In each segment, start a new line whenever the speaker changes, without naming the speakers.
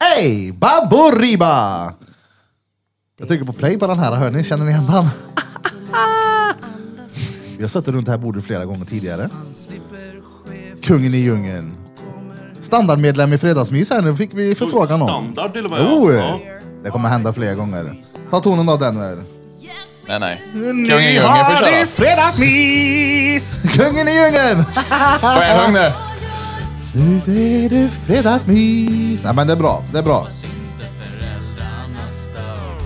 Play! Baburiba! Jag trycker på play på den här, hör ni? Känner ni igen den? Vi har suttit runt det här bordet flera gånger tidigare. Kungen i djungeln. Standardmedlem i Fredagsmys här nu, fick vi förfrågan om.
Standard till och med.
Jo,
ja. Ja.
det kommer hända flera gånger. Ta tonen då Denver.
Nej, nej. Kungen i djungeln får köra.
fredagsmys! Kungen i djungeln!
Får jag sjunga nu?
Nu är det fredagsmys! Nej men det är bra, det är bra.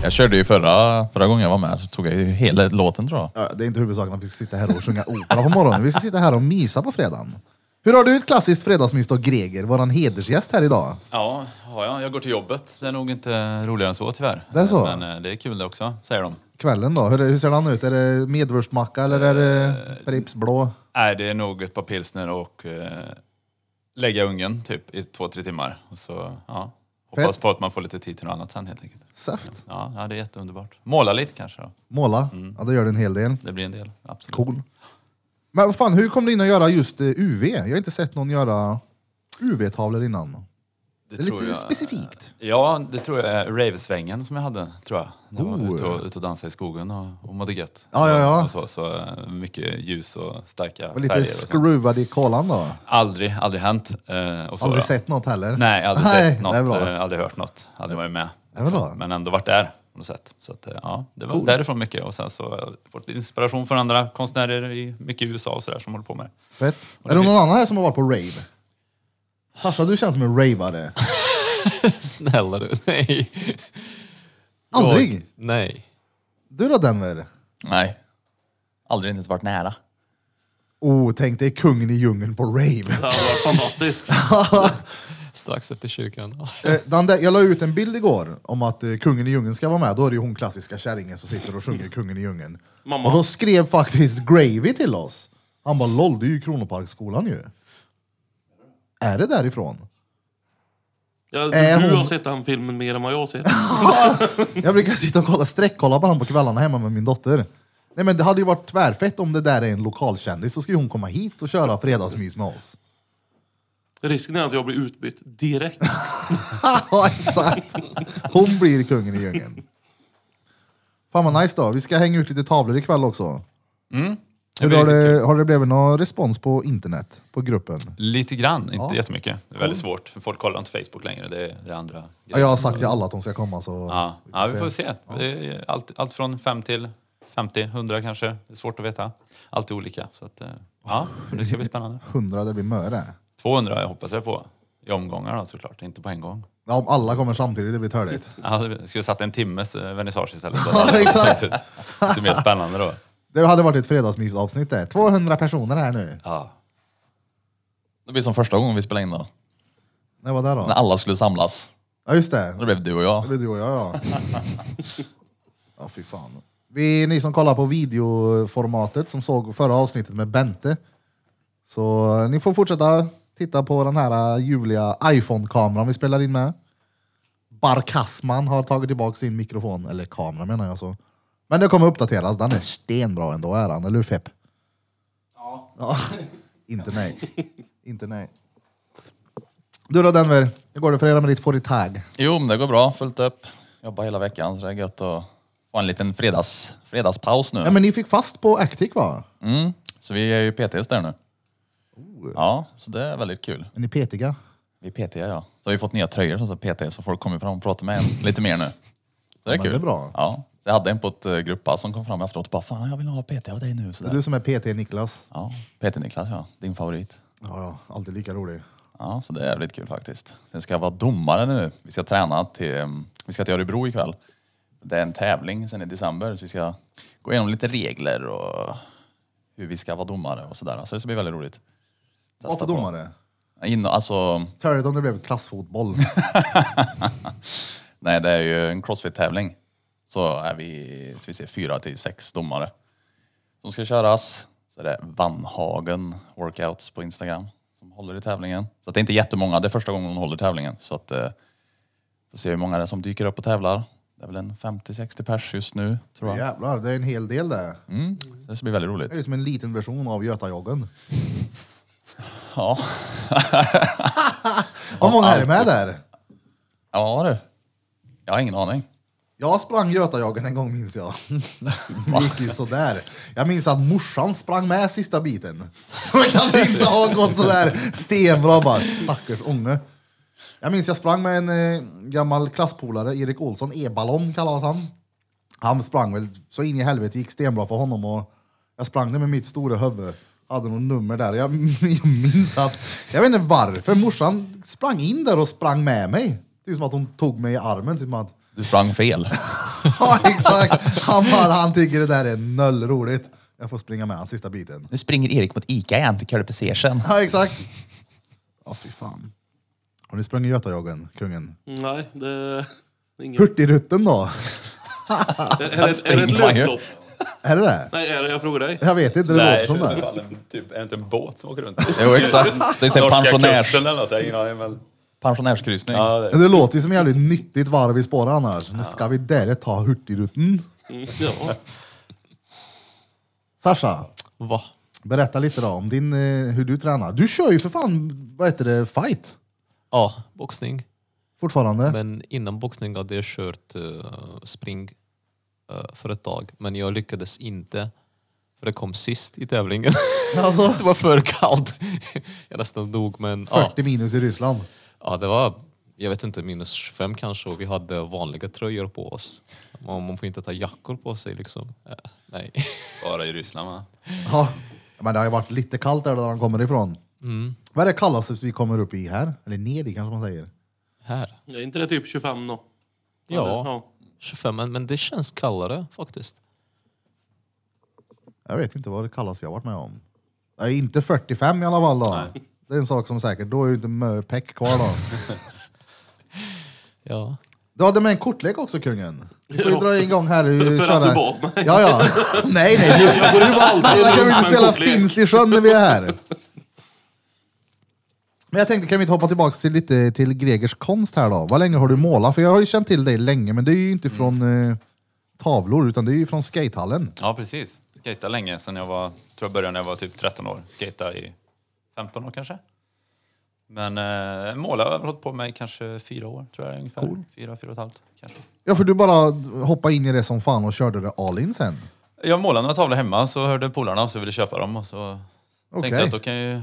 Jag körde ju förra, förra gången jag var med så tog jag ju hela låten tror jag.
Ja, Det är inte huvudsaken att vi ska sitta här och sjunga opera på morgonen. Vi ska sitta här och mysa på fredagen. Hur har du ett klassiskt fredagsmys då, Greger? Våran hedersgäst här idag.
Ja, har jag. Jag går till jobbet. Det är nog inte roligare än så tyvärr.
Det är så?
Men eh, det är kul det också, säger de.
Kvällen då, hur, hur ser den ut? Är det medvurstmacka eller är
Eh,
det Pripps blå?
Nej, det är nog ett par pilsner och eh, lägga ungen typ i två, tre timmar. Och så, ja. Hoppas
Fett.
på att man får lite tid till något annat sen helt enkelt.
Saft?
Ja, ja det är jätteunderbart. Måla lite kanske då.
Måla?
Mm.
Ja, det gör det en hel del.
Det blir en del. Absolut.
Cool. Men vad fan, hur kom du in och göra just eh, UV? Jag har inte sett någon göra UV-tavlor innan. Det är
tror
lite
jag-
specifikt.
Ja, det tror jag är rave-svängen som jag hade, tror jag. När jag
Oh.
var ute och, ute och dansade i skogen och, och mådde gött.
Ja, ja, ja.
Och så, så eh, mycket ljus och starka
Och
färger.
lite
Och sånt.
skruvad i kolan då.
aldrig, aldrig hänt. eh, Och så,
Aldrig
ja.
sett något heller.
Nej, aldrig sett
Det är
något,
bra.
eh, aldrig hört något, aldrig varit med. Liksom.
Det var bra.
Men ändå varit där på något sätt. Så att, eh, ja, det var därifrån mycket och sen så har jag fått inspiration från andra konstnärer i mycket i USA och sådär som håller på med det.
Fett. Är det någon annan här som har varit på rave? Sasha, du känns som en raveare.
Snälla du, nej.
Aldrig?
Jag, nej.
Du då Denver?
Nej. Aldrig ens varit nära.
Oh, tänk dig kungen i djungeln på rave.
Det var fantastiskt.
Strax efter kyrkan.
Eh, den där, jag la ut en bild igår om att eh, kungen i djungeln ska vara med. Då är det ju hon klassiska kärringen som sitter och sjunger kungen i djungeln.
Mamma.
Och då skrev faktiskt Gravy till oss. Han bara LOL, det är ju Kronoparksskolan ju. Är det därifrån?
Ja,
Är
du
Eh, hon-
har sett den filmen mer än vad jag har sett.
Jag brukar sitta och kolla, sträckkolla på honom på kvällarna hemma med min dotter. Nej men det hade ju varit tvärfett om det där är en lokalkändis, så ska ju hon komma hit och köra fredagsmys med oss.
Risken är att jag blir utbytt direkt.
Ja, exakt. Hon blir kungen i djungeln. Fan vad nice då. Vi ska hänga ut lite tavlor ikväll också. Hur
Mm. blir
har,
riktigt
det, har det blivit någon respons på internet? På gruppen?
Lite grann, inte
Ja.
jättemycket. Det är väldigt svårt, för folk kollar inte Facebook längre. Det är, det är andra
Ja, jag har sagt till alla att de ska komma så...
ja. ja, vi får se. Det är allt, allt från 5 till 50, 100 kanske. Det är svårt att veta. Allt är olika. Så att, eh, ja, det ska bli spännande.
100, det blir möre.
200 jag hoppas jag på. I omgångar då såklart, inte på en gång.
Ja, om alla kommer samtidigt, det blir törligt.
Ja, det skulle satt en timmes eh, vernissage istället.
Ja, exakt.
Det är mer spännande då.
Det hade varit ett fredagsmysavsnitt det. 200 personer här nu.
Ja.
Det blir som första gången vi spelade in då.
När var det
När
då?
alla skulle samlas.
Ja, just det.
Då blev du och
Det
jag.
blir du och jag då. ja, fy fan. Vi, ni som kollar på videoformatet som såg förra avsnittet med Bente. Så eh, ni får fortsätta titta på den här eh, Julia iPhone-kameran vi spelar in med. Barkasman har tagit tillbaka sin mikrofon, eller kamera menar jag så. Men det kommer uppdateras, den är stenbra ändå är han, eller hur Fepp? Ja. Inte nej. Inte nej. Du då Denver, hur går det för er med ditt företag?
Jo, men det går bra. Fullt upp. Jobbar hela veckan så det är gött att få en liten fredags, fredagspaus nu.
Ja, men ni fick fast på Actic va?
Mm. Så vi är ju PTs där nu.
Oh.
Ja, så det är väldigt kul.
Är ni petiga?
Vi är petiga ja. Så har vi fått nya tröjor som står PT så folk kommer fram och pratar med en lite mer nu. Så det är
men
kul.
det är bra.
Ja. Så jag hade en på ett eh, grupppass som kom fram efteråt och bara Fan jag vill ha PT av dig nu. Så
Det är du som är PT Niklas.
Ja, PT-Niklas ja. Din favorit.
Ja, ja. Alltid lika rolig.
Ja, så det är jävligt kul faktiskt. Sen ska jag vara domare nu. Vi ska träna till, um, vi ska till Örebro ikväll. Det är en tävling sen i december så vi ska gå igenom lite regler och hur vi ska vara domare och sådär. Så det ska bli väldigt roligt. Testa
Vad för
på.
domare?
In, alltså,
Törligt om det blev klassfotboll.
nej det är ju en crossfit-tävling. Så är vi, så vi ser fyra till sex domare som ska köras. Så det är Vanhagen Workouts på Instagram som håller i tävlingen. Så att det är inte jättemånga, det är första gången hon håller tävlingen. Så att, eh, får se hur många det är som dyker upp och tävlar. Det är väl en 50-60 pers just nu tror jag.
Jävlar, det är en hel del det.
Mm. Så det ska bli väldigt roligt.
Det är som en liten version av Götajoggen.
Ja.
Vad många är det med där?
Ja, Ja du. Jag har ingen aning.
Jag sprang Götajagen en gång minns jag. Det gick ju sådär. Jag minns att morsan sprang med sista biten. Så det kan inte ha gått sådär stenbra bara. Stackars unge. Jag minns jag sprang med en eh, gammal klasspolare, Erik Olsson, E-ballon kallades han. Han sprang väl så in i helvete, gick stenbra för honom och jag sprang där med mitt stora huvud. Hade något nummer där. Jag, jag minns att, jag vet inte varför, morsan sprang in där och sprang med mig. Det är som att hon tog mig i armen, typ att
Du sprang fel.
Ja, exakt. Han, bara, han tycker det där är nollroligt. Jag får springa med han sista biten.
Nu springer Erik mot Ica igen till Curly Passation.
Ja, exakt. Ja, fy fan. Har ni sprungit Götajagen, kungen?
Mm, Nej, det är inget.
Hurtigrutten då?
Är, är, det- är det ett
springer man ju.
löplopp?
Är det det?
Nej, är det, jag frågar dig.
Jag vet inte, det låter som det.
typ, är det inte en båt som åker runt?
Jo exakt. Det är så här pensionärs,
eller något, jag har ingen aning. Men,
pensionärskryssning.
ja, det,
Det låter ju som ett jävligt nyttigt varv i spåret annars. Nu ska vi där ta Hurtigrutten.
Mm, ja.
Sasha,
Va?
berätta lite då om din, eh, hur du tränar. Du kör ju för fan, vad heter det, fight?
Ja, boxning.
Fortfarande?
Men innan boxning hade jag kört eh, spring eh, för ett tag, men jag lyckades inte. För det kom sist i tävlingen.
Alltså,
det var för kallt. jag nästan dog, men ja.
40 minus i Ryssland.
ja, det var, jag vet inte, minus fem kanske och vi hade vanliga tröjor på oss. Man, man får inte ta jackor på sig liksom. Eh, nej.
bara i Ryssland va?
Ja, men det har ju varit lite kallt där där de kommer ifrån.
Mm.
Vad är det kallaste vi kommer upp i här? Eller ner i kanske man säger.
Här.
Är inte det typ 25 då?
Ja, 25, men, men det känns kallare faktiskt.
Jag vet inte vad det kallas jag har varit med om. Nej, inte 45 i alla fall då. Det är en sak som är säker. Då är det inte mö peck kvar då.
Ja.
Du hade med en kortlek också kungen. Du får ju
Ja.
dra igång här. och
För- för
köra.
att du bad mig.
Ja, ja. Nej, nej. Du, du bara
alltid
snälla kan vi inte
runt med en
spela
kortlek."
finns i sjön när vi är här? Men jag tänkte, kan vi inte hoppa tillbaka till lite till Gregers konst här då? Vad länge har du målat? För jag har ju känt till dig länge, men det är ju inte från
Mm.
eh, tavlor, utan det är ju från skatehallen.
Ja, precis. Skejta länge sen jag var, tror jag började när jag var typ 13 år. Skejta i 15 år kanske. Men eh, måla har jag väl hållit på med i kanske fyra år, tror jag ungefär. Fyra, fyra och ett halvt kanske.
Ja, för du bara hoppade in i det som fan och körde det all in sen.
Jag målade några tavlor hemma, så hörde polarna och så ville köpa dem och så
Okej,
tänkte jag att då kan jag ju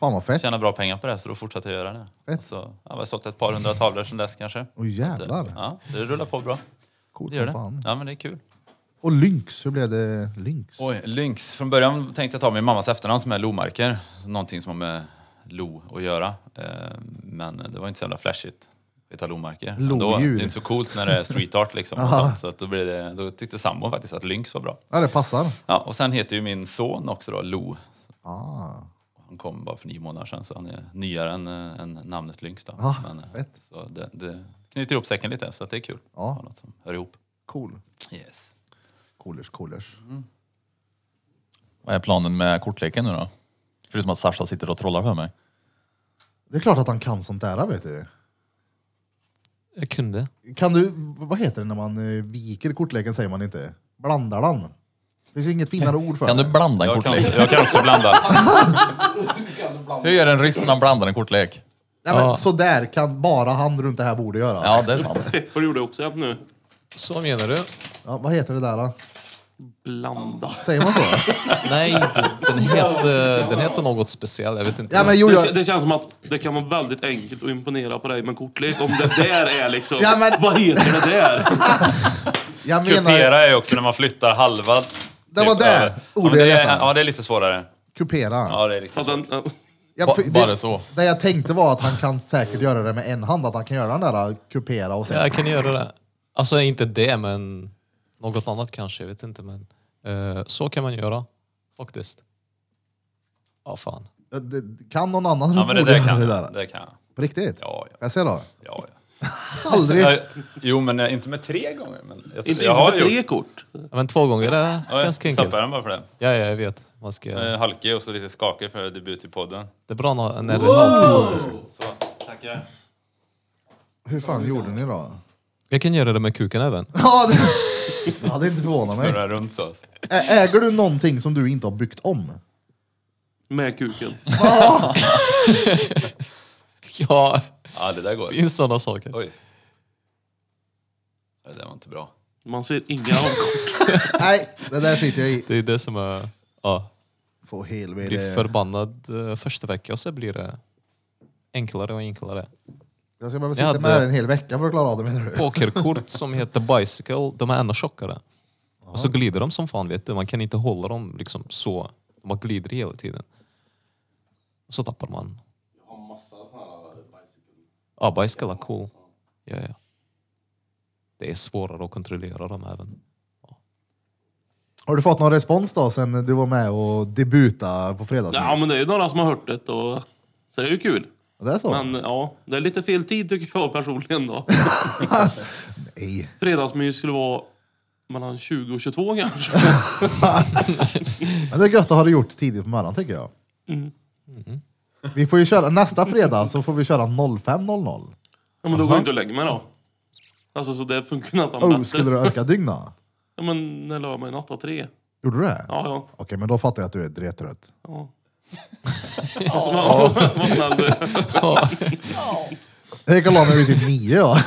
fan vad fett.
tjäna bra pengar på det, så då fortsatte jag göra det.
Fett.
Och Så, ja, jag har sålt ett par hundra tavlor sedan dess kanske.
Åh jävlar,
Ja, det rullar på bra.
coolt
Det gör
som
det.
fan.
Ja, men det är kul.
Och Lynx, hur blev det Lynx?
Oj, Lynx. Från början tänkte jag ta min mammas efternamn som är Lomarker. Någonting som har med Lo att göra. Eh, Men det var inte så jävla flashigt. Vi tar Lomarker. Men Då, det
Lodjur.
är inte så coolt när det är street art liksom. och sånt. så att då, blev det, då tyckte sambo faktiskt att Lynx var bra.
Ja, det passar.
Ja, och sen heter ju min son också då Lo.
Ah.
Han kom bara för nio månader sedan så han är nyare än, eh, än namnet Lynx. Då.
Ah,
Men, eh,
fett.
Så det, det knyter ihop säcken lite så att det är kul.
Ja.
Att ha Något som hör ihop.
Cool.
Yes.
Coolers, coolers.
Vad är planen med kortleken nu då? Förutom att Sasha sitter och trollar för mig.
Det är klart att han kan sånt där, vet du.
Jag kunde.
Kan du, vad heter det när man eh, viker kortleken, säger man inte? Blandar den? Det finns inget finare ord för
Kan du
det.
blanda en
Jag kan,
kortlek?
också, jag kan också blanda.
Hur gör en ryss när han blandar en kortlek?
Nej, men,
Ja.
Sådär kan bara han runt det här bordet göra. Ja.
Ja, det är sant.
Pepper gjorde också jag nu.
Så menar du?
vad heter det där då?
Blanda.
Säger man så?
Nej, den hette, den hette något speciellt. Jag vet inte.
ja, men jo,
Det,
jag,
kän- det känns som att det kan vara väldigt enkelt att imponera på dig med kortlek. Om det där är liksom...
Ja, men-
Vad heter det där?
jag menar...
Kupera är ju också när man flyttar halva... typ
Det var det
över. Ja, men
ordet
det
jag
är,
letade.
ja, det är lite svårare.
Kupera.
Ja, det är riktigt.
Att den, äh,
Ja, för
Ba-
det-
bara så.
Det jag tänkte var att han kan säkert göra det med en hand, att han kan göra den där eh, kupera och sen...
Ja, jag kan göra det. Alltså inte det, men något annat kanske. Jag vet inte. Men eh, så kan man göra faktiskt. Ja, fan.
Eh, det- Kan någon annan
Ja, men det
borde
där
göra
kan
det
jag.
där?
Det kan jag.
På riktigt?
Ja, ja,
Jag ser då.
ja. ja.
Aldrig.
Nej, Jo, men eh, inte med tre gånger. Men jag,
inte
jag
inte
har
med
gjort-
tre kort.
Ja, Men två gånger är
Ja, jag
ganska enkelt.
tappade den bara för det.
Ja, ja, jag vet. Man ska,
Eh, Halkig och så lite skakig för debut i podden.
det är bra när när det är noll. faktiskt.
Så, tackar.
Hur fan gjorde ni då?
Jag kan göra det med kuken även.
Ja, det, ja, det inte förvånat mig.
Snurrar runt så.
Ä- Äger du någonting som du inte har byggt om?
Med kuken.
Ja,
Ja, det där går.
det finns sådana saker.
Oj. Det där var inte bra.
Man ser inga avkort.
Nej, det där skiter jag i.
Det är det som är... Ja,
Få
blir
helvete.
förbannad eh, första veckan och så blir det enklare och enklare.
Jag ska behöva
Jag
sitta
hade-
med det här en hel vecka för att klara av det menar du?
Pokerkort som heter Bicycle, de är ännu tjockare. Och så glider de som fan vet du, man kan inte hålla dem liksom så. De bara glider hela tiden. Och så tappar man.
eh,
Jag har massa såna här bicycle. Ja, bicycle är cool. Ja, ja. Det är svårare att kontrollera dem även.
Har du fått någon respons då sen du var med och debuta på fredagsmys?
Ja, men det är ju några som har hört det. Och... Så det är ju kul.
Det är så?
Men ja, det är lite fel tid tycker jag personligen då.
Nej.
Fredagsmys skulle vara mellan 20 och 22 kanske.
Men det är gött att ha det gjort tidigt på morgonen tycker jag.
Mm.
Mm. Vi får ju köra, nästa fredag så får vi köra 05.00.
Ja, men då går jag inte och lägger mig då. Alltså så det funkar nästan
Oh,
bättre.
skulle du orka dygna?
Ja men när la jag mig? Natt av tre?
Gjorde du det?
Ja ja.
Okej, men då fattar jag att du är drettrött.
ja. Alltså, ja. Vad snäll du är.
Jag gick och la mig vid typ nio ja.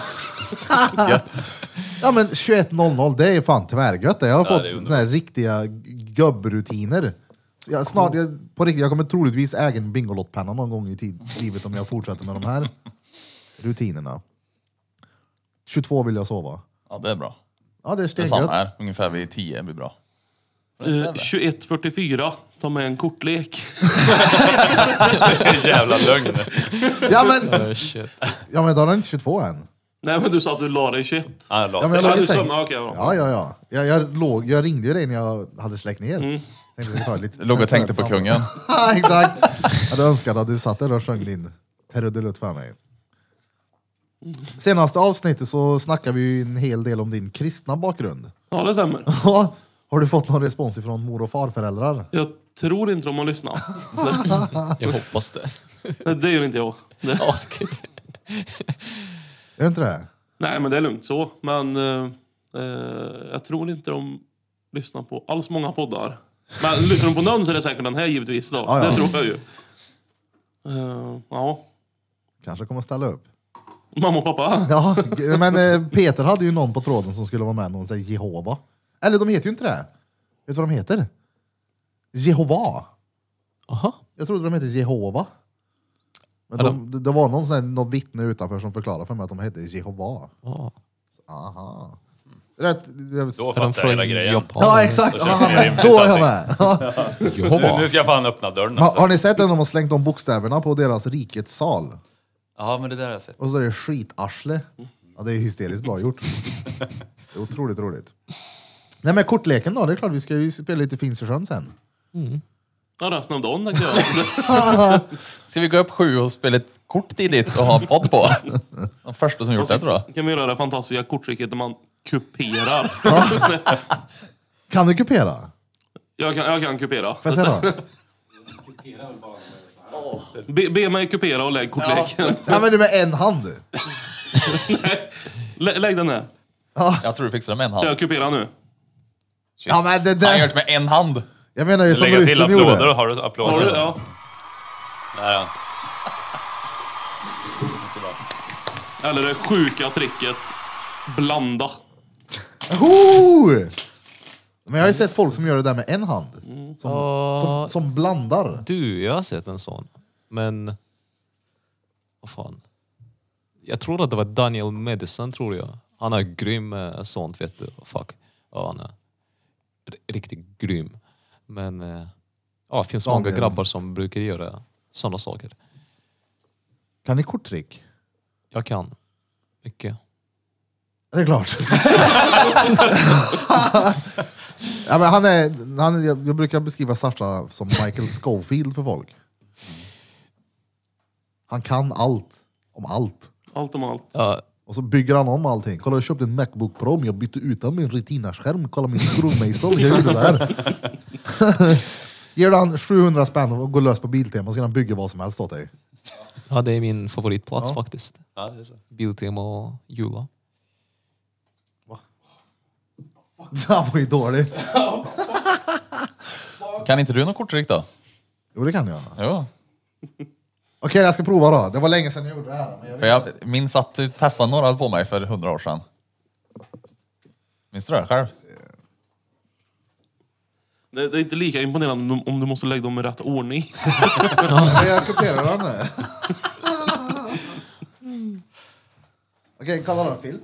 ja men 21.00, det är fan tvärgött det. Jag har
Ja, det
fått
är
såna
underbart.
här riktiga gubbrutiner. Så jag, snart,
Mm.
jag, på riktigt, jag kommer troligtvis äga en Bingolottpenna någon gång i tid, livet om jag fortsätter med de här rutinerna. 22 vill jag sova.
Ja, det är bra.
Ja det är
Det är samma
stengött.
här. Ungefär vid 10 blir bra. Men
Eh,
jag ser
21.44, ta med en kortlek.
Jävla lögn.
Ja men,
Oh, shit.
ja men då är det inte 22 än.
Nej men du sa att du la dig 21.
Ja, jag la
Ja, men jag
sig.
Ja,
låg i
du
säng.
sömnade, okej då.
Ja, ja, ja. Jag, jag, låg, jag ringde ju dig när jag hade släckt ner. Tänkte vi tar ett litet
det. Mm. Låg och tänkte på
sensuellt
kungen.
Ja, exakt. Jag hade önskat att du satt där och sjöng din Terrodelutt för mig. Senaste avsnittet så snackade vi ju en hel del om din kristna bakgrund.
Ja det stämmer.
Ja, Har du fått någon respons ifrån mor och farföräldrar?
Jag tror inte de har lyssnat.
Jag hoppas det.
Det, det gör inte jag. Det.
Ja, okej.
Är det inte det?
Nej men det är lugnt så. Men eh, eh, jag tror inte de lyssnar på alls många poddar. Men lyssnar de på någon så är det säkert den här givetvis då.
Ja, ja.
Det tror jag ju. Eh, ja.
Kanske kommer ställa upp.
Mamma och pappa?
Ja, g- men eh, Peter hade ju någon på tråden som skulle vara med, någon säger Jehova. Eller de heter ju inte det. Vet du vad de heter? Jehova.
Aha.
Jag trodde de hette Jehova. Men
Ja,
de, det var någon, sån här, någon vittne utanför som förklarade för mig att de hette Jehova.
Ja.
Aha. Mm. Rätt. det-
Då
Är de
fattar jag
från
hela grejen.
Japan?
Ja exakt,
Då känns det
Aha,
rimligt
då är jag
allting.
med. Ja.
Nu,
Jehova.
nu ska jag fan öppna dörren.
Har,
Alltså.
har ni sett när de har slängt om bokstäverna på deras rikets sal?
Ja, men det där har jag sett.
Och så är det skitarsle. Ja, det är hysteriskt bra gjort. Det är otroligt roligt. Nej men kortleken då, det är klart vi ska ju spela lite Finns i sjön sen.
Ja, resten av dagen tänkte jag.
Ska vi gå upp sju och spela ett kort tidigt och ha en podd på? Den första som gjort det tror jag.
kan vi göra det fantastiska korttricket där man kuperar.
Kan du kupera?
jag, kan, jag kan kupera.
Får jag se då?
Be, be mig kupera och lägg kortleken.
Ja men du med en hand.
Lä, lägg den här.
Jag tror du fixar det med en
Ska
hand.
jag kupera nu?
Ja men det
Han gör
där.
det med en hand.
Jag menar ju som
Lägga till
ryssen
applåder.
gjorde.
Har du applåder?
Har du? Ja.
Där, ja.
Eller det sjuka tricket. Blanda.
Ho! Men jag har ju sett folk som gör det där med en hand. Som, som, som blandar.
Du, jag har sett en sån. Men... Vad fan. Jag tror att det var Daniel Madison, tror jag. Han är grym med sånt, vet du. Fuck. Ja, han är r- riktigt grym. Men... eh, Ja, det finns många
Daniel.
grabbar som brukar göra såna saker.
Kan ni korttrick?
Jag kan. Mycket.
Det är klart. ja, men han är, han är, jag jag brukar beskriva Sasha som Michael Schofield för folk. Han kan allt om allt.
Allt om allt.
Ja,
Och så bygger han om allting. Kolla jag köpte en Macbook Pro men jag bytte ut den med en Retina-skärm. Kolla min skruvmejsel, jag gjorde det här. Ger du han 700 spänn och går lös på Biltema så kan han bygga vad som helst åt dig.
ja, det är min favoritplats faktiskt.
ja det är så.
Biltema och Jula.
Han var ju dålig.
Kan inte du något korttrick då?
Jo det kan jag.
Jo.
Okej jag ska prova då. Det var länge sedan jag gjorde det här. Men jag
För jag minns att du testade några på mig för hundra år sedan. Minns du det själv?
Det, det är inte lika imponerande om du- om du måste lägga dem i rätt ordning.
Men jag kopierar den. Okej, kolla då Phil.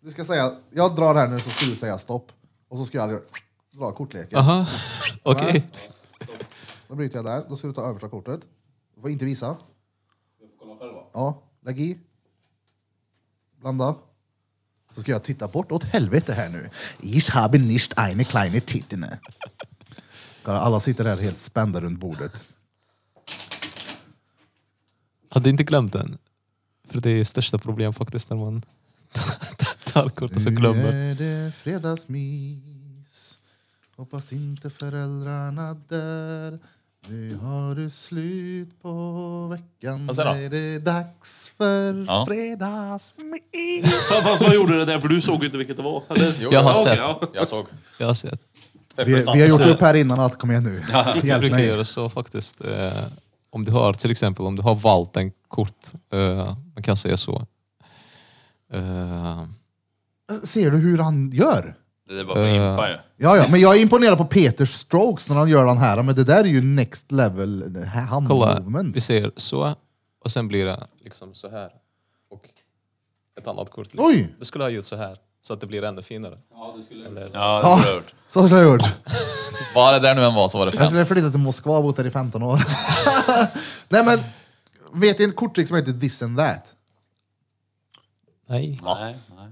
Du ska säga, jag drar här nu så ska du säga stopp. Och så ska jag dra kortleken.
Aha, okej.
Då bryter jag där. Då ska du ta översta kortet. Du får inte visa. Jag får kolla själv Ja, lägg i. Blanda. Så ska jag titta bort åt helvete här nu. Ich habe nicht eine kleine Tittine. Kolla, Alla sitter här helt spända runt bordet.
Hade inte glömt den. För det är ju största problem faktiskt när man tar kort och så glömmer.
Nu är det fredagsmys. Hoppas inte föräldrarna där. Nu har du slut på veckan.
Vad säger
är det dags för
Ja.
fredagsmys.
Fast man gjorde det där för du såg ju inte vilket det var. Eller?
Jo,
Jag har
Ja, okej,
sett.
ja.
Jag såg.
Jag har sett.
Vi, vi har gjort upp här innan allt. Kom igen nu.
Jag
Hjälp
brukar
mig.
göra så faktiskt. Eh, om du har till exempel om du har valt en kort, eh, man kan säga så. Eh,
Ser du hur han gör?
Det är bara för
Eh.
att impa ju.
Ja, ja, men jag är imponerad på Peters strokes när han gör den här. Men det där är ju next level hand
kolla,
movement.
vi ser så och sen blir det liksom så här. Och ett annat kort. Liksom.
Oj!
Du skulle ha gjort så här så att det blir ännu finare.
Ja, det
Ja,
har jag gjort.
så skulle jag gjort.
Var det där nu än var så var det
Jag
fem.
skulle flytta till Moskva och bott där i 15 år. Nej men, vet ni en korttrick som heter this and that?
Nej.
Nej, nej.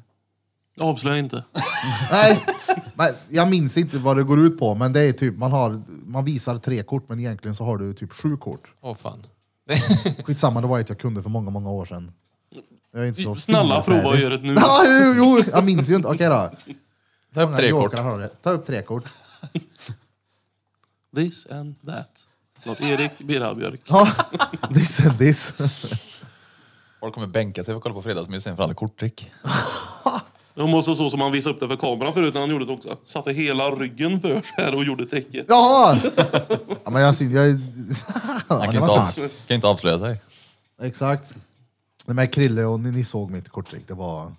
Avslöja inte.
Nej, men jag minns inte vad det går ut på, men det är typ, man, har, man visar tre kort men egentligen så har du typ sju kort.
Åh fan.
Skitsamma, det var ett jag kunde för många, många år sedan. Jag är inte så
Snälla prova att
fingerfärdig.
göra det nu.
Ja, jo, jo, jag minns ju inte. Okej då.
Ta upp tre kort.
Har det. Ta upp tre kort.
This and that. Något Erik Birabjörk.
Ja, this and this.
Folk kommer bänka sig för att kolla på fredagsmysen för alla korttrick.
Det måste så som han visade upp det för kameran förut när han gjorde det också. Satte hela ryggen för sig här och gjorde tricket.
Jaha! Ja, men jag, syn- jag är... Ja,
Han
det
kan,
var
inte,
smart.
av, kan inte avslöja sig.
Exakt. Nej, men Krille och ni, ni såg mitt korttrick, det var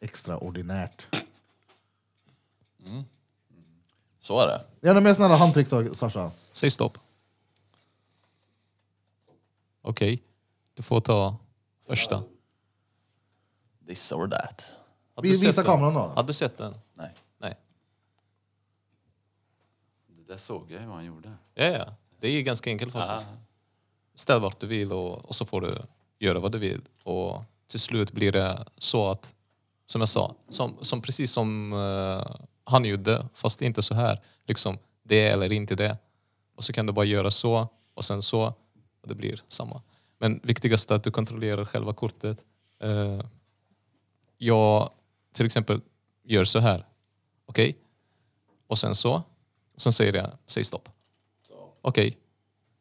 extraordinärt.
Så är det.
Gärna med sådana här handtrick Sa- Sasha.
Säg stopp. Okej. Du får ta första.
This or that.
Har
Vi,
du sett
visa
den?
kameran då.
Har du sett den?
Nej.
Nej.
Det där såg jag ju vad han gjorde.
Ja, ja. Det är ganska enkelt faktiskt. Ställ vart du vill och, och så får du göra vad du vill. Och till slut blir det så att, som jag sa, som, som precis som eh, han gjorde, fast inte så här. Liksom, det eller inte det. Och så kan du bara göra så och sen så. Och det blir samma. Men viktigast är att du kontrollerar själva kortet. Eh, jag till exempel gör så här. Okej? Och sen så. Och sen säger jag, säg stopp. Okej.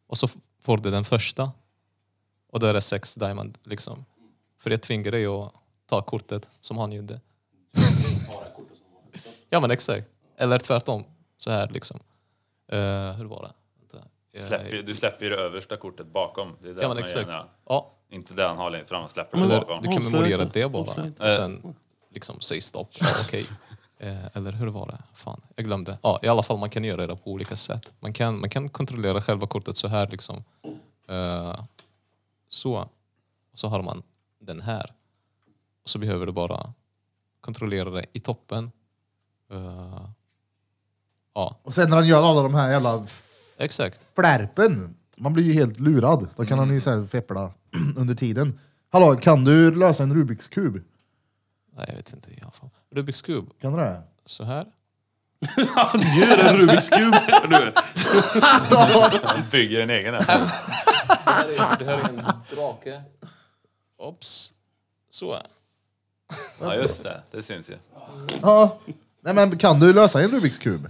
Och så f- får du den första. Och då är det sex diamond liksom. För jag tvingar dig att ta kortet som han gjorde. ja men exakt. Eller tvärtom. Så här liksom. Eh, hur var det? Vänta. Jag-
Släpper, ju- du släpper ju det översta kortet bakom. Det är det
Ja, men
som är
exakt.
grejen.
Ja,
Inte det han har längst fram, släpper
Men
det
det-
bakom.
du kan
Avslöja
memorera
inte.
det bara.
Avslöja inte.
Och sen liksom säg stopp. Ja, Okej. Eh, Eller hur var det? Fan, jag glömde. Ja, I alla fall, man kan göra det på olika sätt. Man kan, man kan kontrollera själva kortet så här. liksom. Eh, Så. Och så har man den här. Och så behöver du bara kontrollera det i toppen. Eh, Ja,
Och sen när han gör alla de här jävla
exakt.
flärpen, man blir ju helt lurad. Då kan
Mm.
han ju så här feppla under tiden. Hallå, kan du lösa en Rubiks kub?
Nej, jag vet inte i alla fall. Rubiks kub,
Kan du det?
så här.
Han gör en Rubiks kub här nu.
Han bygger en egen. här.
Det här är, det här är en drake. Ops. Så.
Ja, just det. Det syns ju.
Ja. Nej men kan du lösa en Rubiks kub?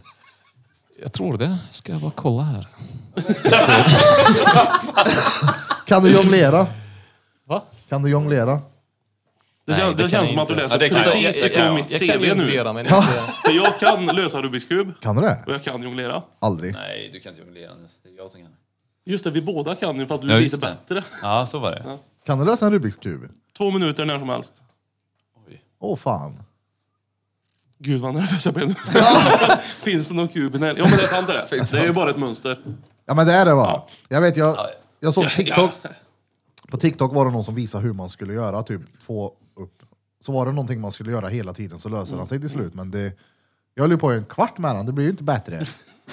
Jag tror det. Ska jag bara kolla här.
Kan du jonglera?
Va?
Kan du jonglera?
Det,
Nej,
kän,
det
det,
kan
känns
jag
som att du
inte.
läser
Ja, det kan jag.
precis
Jag- jag-
ifrån
jag-
mitt
Jag kan
CV nu.
jonglera men inte...
För Jag kan lösa Rubiks kub
Kan du det?
och jag kan jonglera.
Aldrig.
Nej, du kan inte jonglera nu. Det är jag som kan.
Just det, vi båda kan ju för att du
Ja,
är
just
lite
det.
bättre.
Ja, så var det.
Kan du lösa en Rubiks kub?
Två minuter när som helst.
Åh fan.
Gud vad nervös jag blev nu. Finns det någon kub i närheten? Ja men det är sant det. Det är ju bara ett mönster.
Ja men det är det va? Jag vet, jag, jag såg TikTok.
Ja.
På TikTok var det någon som visade hur man skulle göra, typ två upp. Så var det någonting man skulle göra hela tiden, så löser han sig till slut. Men det, jag höll ju på i en kvart med den, det blir ju inte bättre.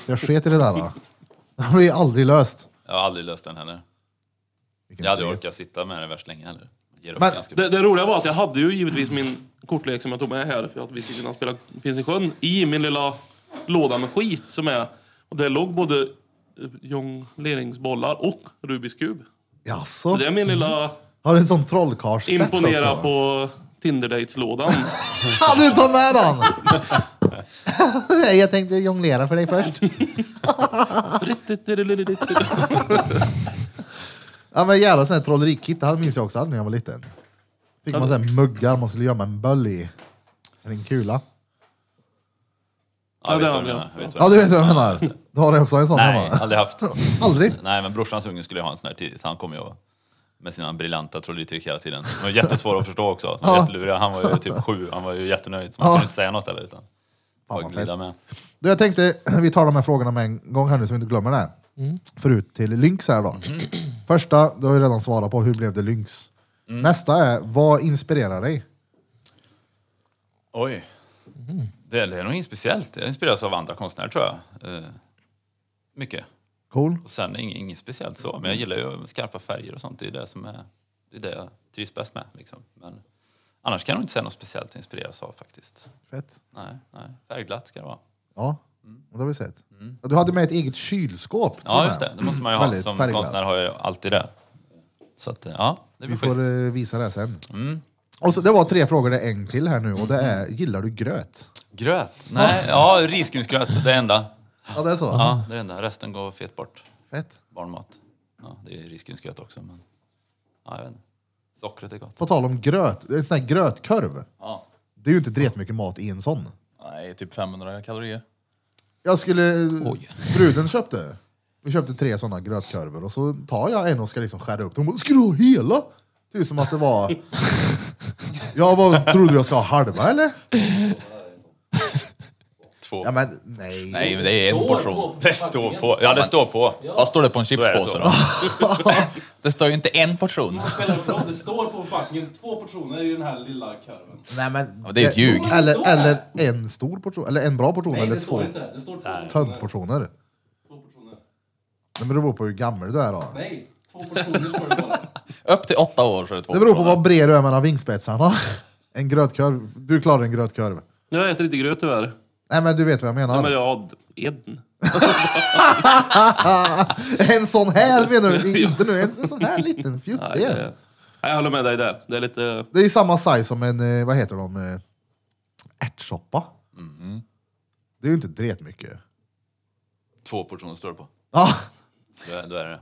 Så jag sket i det där. va. Det blir ju aldrig löst.
Jag har aldrig löst den heller.
Vilken
Jag hade
idiot.
orkat sitta med den värst länge heller. Jag Ger upp
Men-
ganska
Det, det roliga var att jag hade ju givetvis min kortlek som jag tog med här för att vi skulle kunna spela Finns i sjön i min lilla låda med skit som är... Och där låg både eh, jongleringsbollar och Rubiks kub.
Jaså?
Det är min lilla
Har du en sån trollkarlssätt
imponera
också?
på Tinder-dates-lådan.
Ja, du tar med den! Nej, jag tänkte jonglera för dig först. Ja men jävla sån här trollerikit, det här minns jag också när jag var liten. Fick man sån här muggar man skulle gömma en böll i. Eller en kula.
Ja, jag vet
det
vad du
har jag
menar,
haft.
Ja
jag vet vad du
du vet vad jag menar. Du har också en sån
menar. Nej,
hemma?
aldrig haft.
Aldrig?
Nej, men brorsans unge skulle jag ha en sån här tidigt. Han kom ju och- med sina briljanta trolleritrick hela tiden. De var jättesvåra att förstå också. De var
Ja.
jätteluriga. Han var ju typ sju. Han var ju jättenöjd. Så man
Ja.
kunde inte säga något heller. Utan
Fan,
bara
vad
glida med.
Du jag tänkte, vi tar de här frågorna med en gång här nu så vi inte glömmer det.
Mm.
Förut till Lynx här då. Första, du har ju redan svarat på, hur blev det Lynx?
Mm.
Nästa är, vad inspirerar dig?
Oj. Det, det är nog inget speciellt. Jag inspireras av andra konstnärer tror jag. Eh, mycket.
Cool.
Och sen inget, inget speciellt så. Men jag gillar ju skarpa färger och sånt. Det är det som är det, är det jag trivs bäst med. Liksom. Men annars kan jag nog inte säga något speciellt att inspireras av faktiskt.
Fett.
Nej, nej. Färgglatt ska det vara.
Ja, och det har vi sett. Du hade med ett eget kylskåp. till och
Mm. Ja,
med.
just det. Det måste man ju ha.
Väldigt
Som
färgglatt.
konstnär har jag alltid det. Så att, eh, ja, det
Vi
blir schysst. Mm.
får eh, visa det sen. Och så, det var tre frågor, det är en till här nu och det är, gillar du gröt?
Gröt? Nej, ja, risgrynsgröt. Det enda.
Ja det är så?
Ja, det är det enda. Resten går fet bort.
Fett.
Barnmat. Ja, det är risgrynsgröt också, men... Ja, jag vet inte. Sockret är gott.
På tal om gröt, det är en sån här grötkorv.
Ja.
Det är ju inte dretmycket mycket mat i en sån.
Nej, typ 500 kalorier.
Jag skulle...
Oj.
Bruden köpte. Vi köpte tre såna grötkorvar och så tar jag en och ska liksom skära upp den. Hon bara, ska du ha hela? Det är som att det var... Jag bara, tror du jag ska ha halva eller?
Två.
Ja men nej.
Nej, men det är en portion.
Det står på. Ja, det står på.
Vad står det på en
är det
chipspåse
så.
då? det står ju inte en portion.
Det står på förpackningen två portioner i den här lilla kurven.
nej men,
det är ett ljug.
Det
Eller,
står
eller en stor portion, eller en bra portion
Nej,
eller
det
två
står inte. Det står två portioner.
töntportioner.
Två portioner.
Det beror på hur gammal du är då.
Nej, två portioner står det bara.
Upp till åtta år så är det två
Det beror på
portioner.
vad bred du är mellan vingspetsarna. En grötkorv. Du klarar en grötkorv.
Jag äter inte gröt tyvärr.
Nej men du vet vad jag menar.
Ja, men jag... En.
En sån här menar du? Inte nu, en en sån här liten
Nej,
fjuttig.
det- Nej, jag håller med dig där. Det är lite...
Det är ju samma size som en, eh, vad heter de, eh, ärtsoppa.
Mm-hmm.
Det är ju inte dret mycket.
Två portioner står det på.
Ja,
Då är, då är det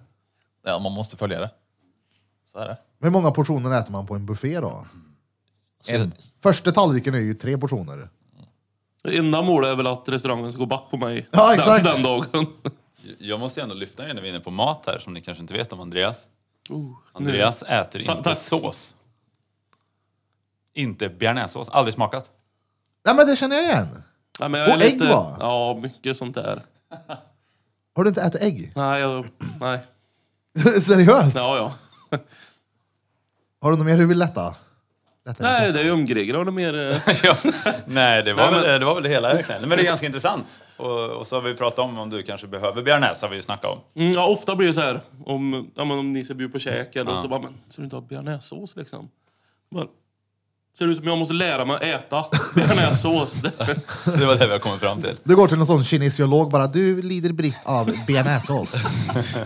Ja, man måste följa det. Så är det.
hur många portioner äter man på en buffé då?
Så jag,
Första tallriken är ju tre portioner.
Det enda målet är väl att restaurangen ska gå back på mig
Ja, exakt.
Den, den dagen.
Jag måste ju ändå lyfta er när vi är inne på mat här, som ni kanske inte vet om Andreas.
Oh, nu.
Andreas äter inte
tack.
sås. Inte bearnaisesås. Aldrig smakat.
Nej men det känner jag igen.
Nej, men jag är
Och ägg,
lite,
va?
Ja, mycket sånt där.
Har du inte ätit ägg?
Nej, jag, nej.
Seriöst?
Ja, ja.
Har du något mer du vill lätta? lätta
Nej, det är ju umgrejer. Har du mer... eh,
Ja. Nej, det var,
Nej, men-
Väl, det var väl det hela egentligen. Men det är ganska intressant. Och, och så har vi pratat om om du kanske behöver bearnaise, har vi ju snackat om.
Mm, ja, ofta blir det så här, om, ja, men om ni ska bjuda på käk eller så bara, men ska du inte ha bearnaisesås liksom? Bara, ser det ut som jag måste lära mig att äta bearnaisesås? Det-
Det var det vi har kommit fram till.
Du går till någon sån kinesiolog bara, du lider brist av bearnaisesås.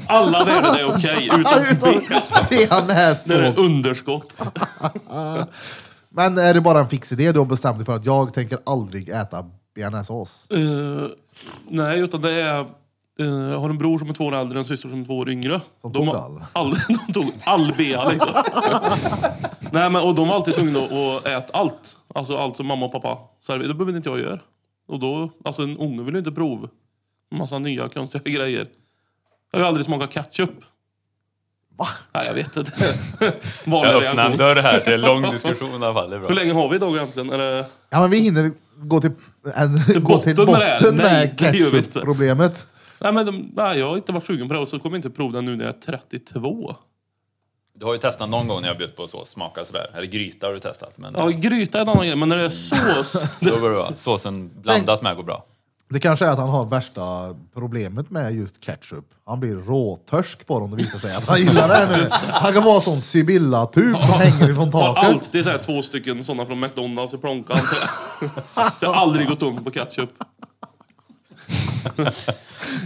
Alla värden är okej, utom
Utan
det. När det är
bearnaisesås.
underskott.
Men är det bara en fix idé du har bestämt dig för att jag tänker aldrig äta bearnaisesås?
Eh, nej, utan det är... eh, jag har en bror som är två år äldre och en syster som är två år yngre.
Som
de
tog
har
all.
all? De tog all bea liksom. nej, men, och de är alltid tvungna att äta allt. Alltså allt som mamma och pappa serverar. Det behöver inte jag göra. Och då, alltså en unge vill ju inte prova massa nya konstiga grejer. Jag har ju aldrig smakat ketchup. Nej, jag vet inte. Vanlig
Jag öppnar en
reaktion.
dörr här. Det är en lång diskussion i alla fall. Det är
Hur
bra.
länge har vi idag egentligen? Är det...
Ja, men vi hinner gå till, en,
Till
gå till
botten med det här?
botten
Nej,
med
det gör vi inte.
ketchup-problemet.
Nej, men de, nej, jag har inte varit sugen på det och så kommer jag inte prova den nu när jag är 32.
Du har ju testat någon gång när jag bjöd på sås. Smaka sådär. Eller gryta har du testat. Men
Ja, gryta är en annan grej, men när det är sås...
då går det bra. Såsen blandat med går bra.
Det kanske är att han har värsta problemet med just ketchup. Han blir råtörsk på det om det visar sig att han gillar det här nu. Han kan vara sån Sibylla-tub som hänger ifrån
Jag har
taket.
alltid så här två stycken sådana från McDonalds i plånkan. Jag har aldrig gått ung på ketchup.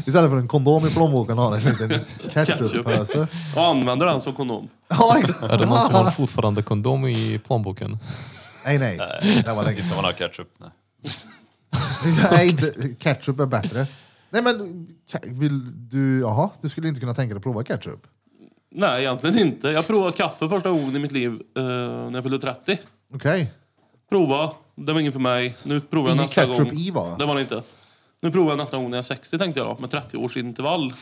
Istället för en kondom i plånboken har han en liten ketchuppöse.
Och använder den som kondom.
Ja, exakt.
Är det någon som har fortfarande kondom i plånboken?
Nej, nej. Det var länge
Inte
sedan.
som man har ketchup. Nej.
Nej, inte- ketchup är bättre. Nej, men ke- vill du... Jaha, du skulle inte kunna tänka dig att prova ketchup?
Nej, egentligen inte. Jag provade kaffe första gången i mitt liv eh, när jag fyllde 30.
Okej.
Prova, det var ingen för mig. Nu provar jag
Ingen
nästa
ketchup
gång.
i, va?
Det var det inte. Nu provar jag nästa gång när jag är 60 tänkte jag då, med 30 års intervall.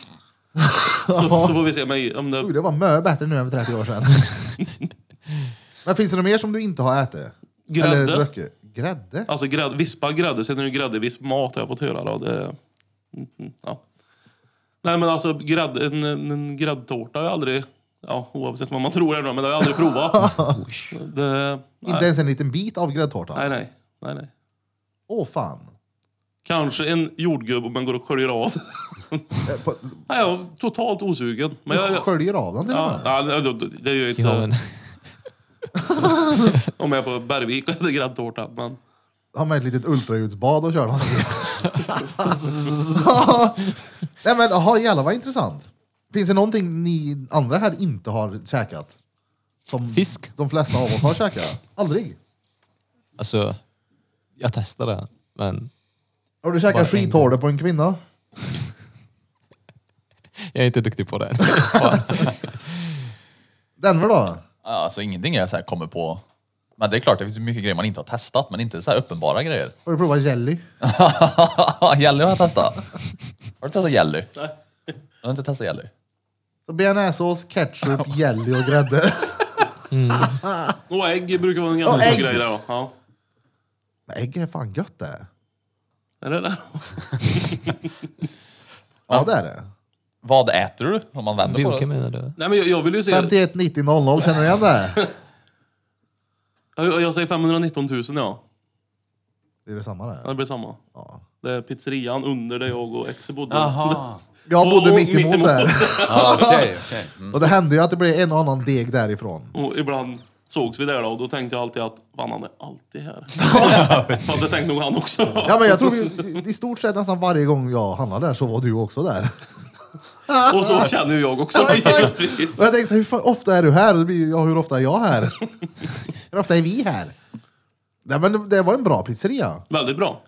så, så får vi se mig om det...
Oj, Det var mycket bättre nu än för 30 år sedan. men finns det något mer som du inte har ätit?
Grädde.
Eller druckit? Grädde?
Alltså grädd, vispa grädde, sen är det ju gräddevisp mat har jag fått höra. Då. Det, Mm, mm, ja. Nej men alltså grädd, en, en en gräddtårta har jag aldrig, ja, oavsett vad man tror är det, men det har jag aldrig provat. det,
Inte
nej,
ens en liten bit av gräddtårta?
nej, nej, nej, nej.
Åh fan.
Kanske en jordgubb om man går och sköljer av.
Eh, på-
nej, jag är totalt osugen. Men jag, jag,
Sköljer av den till och
ja,
med?
nej, det- det- det gör jag
Jag har
inte
en,
om jag är på Bergvik och äter gräddtårta. Men
Har med ett litet ultraljudsbad och kör den. Nej men jaha, jävlar vad intressant. Finns det någonting ni andra här inte har käkat? Som
Fisk.
de flesta av oss har käkat? Aldrig.
alltså, jag testade, men
Har du
Bara en
käkat
gång.
skithårde på en kvinna?
jag är inte duktig på det.
Denver då?
Ja, Alltså ingenting jag så här kommer på. Men det är klart, det finns ju mycket grejer man inte har testat, men inte så här uppenbara grejer.
Har du provat jelly?
jelly har jag testat. Har du testat jelly?
Nej.
Jag har inte testat jelly.
Så bearnaisesås, ketchup, jelly och grädde.
och ägg brukar vara en
Och
ganska
ägg.
stor grej där. då. Ja.
Men ägg är fan gött det.
Är det det?
Ja det är det.
Vad äter du om man vänder på det?
Vilka menar du?
Nej men jag, jag vill ju se...
51 90 00, känner du igen det?
Jag, jag säger 519 000 ja.
Det är det samma det.
Ja, Det blir samma.
Ja.
Det är pizzerian under där jag och Exe bodde.
Jaha.
Jag
Och-
bodde
och
mitt emot
mittemot.
där.
Ja, Okej, okej. Mm.
Och det hände ju att det blev en och annan deg därifrån.
Och ibland sågs vi där då, och då tänkte jag alltid att fan han är alltid här. Fan det tänkte nog han också.
Ja men jag tror vi- i stort sett nästan varje gång jag handlade där så var du också där.
Och så känner ju jag också.
Ja, exakt.
Vi-
Och jag tänkte så här, hur fan, ofta är du här? Och det blir, Ja, hur ofta är jag här? Hur ofta är vi här? Nej men det- det var en bra pizzeria.
väldigt bra.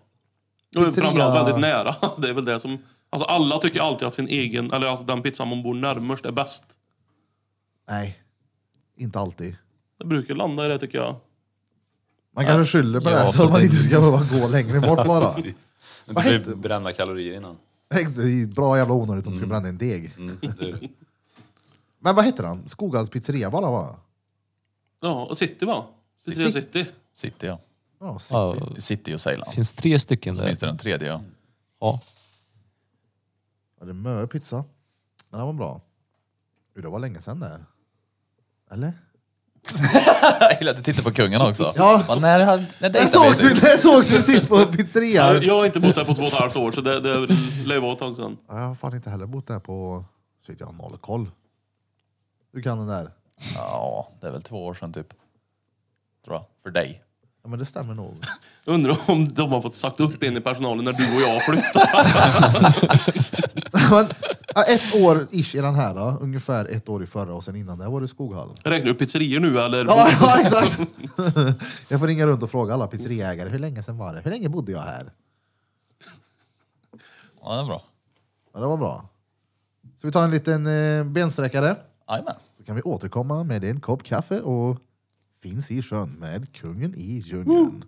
Och
Pizzeria.
framförallt väldigt nära. Det är väl det som... Alltså alla tycker alltid att sin egen, eller alltså den pizzan man bor närmast är bäst.
Nej, inte alltid.
Det brukar landa i det tycker jag.
Man kanske skyller på det här
Ja,
så att man
det-
inte ska behöva gå längre bort bara.
Inte
Vad hette-
bli brända kalorier innan.
Det är ju bra jävla onödigt om du ska bränna en deg.
Mm. Du,
Men vad heter han? Skogans pizzeria bara va?
Ja, och City va? City.
City.
City.
City ja.
Ja, City.
Ja,
City och
det
Ceylan.
finns tre stycken där.
Finns det den tredje ja.
Ja.
Ja, det är Mö pizza. Men den var bra. Ur, det var länge sedan det. Eller?
Jag gillar att du tittar på kungen också.
Ja.
Vad, när har- när
Det
dejtade vi
sågs, vi,
sist?
det sågs vi sist på pizzerian!
Jag har inte bott där på två och ett halvt år så det, det lär ju vara ett tag sedan.
Ja, Jag har fan inte heller bott där på... Shit, jag har noll koll. Du kan den där?
Ja, det är väl två år sedan typ. Tror jag. För dig.
Ja, men det stämmer nog.
Undrar om de har fått sagt upp en i personalen när du och jag flyttade.
men, ja, ett år ish i den här, då. ungefär ett år i förra och sen innan det var det Skoghall.
Räknar du pizzerior nu eller?
Ja, ja, exakt! jag får ringa runt och fråga alla pizzeriaägare, hur länge sen var det? Hur länge bodde jag här?
Ja, det är bra.
Ja, det var bra. Så vi tar en liten eh, bensträckare,
Jajamän.
så kan vi återkomma med en kopp kaffe och finns i sjön med kungen i djungeln.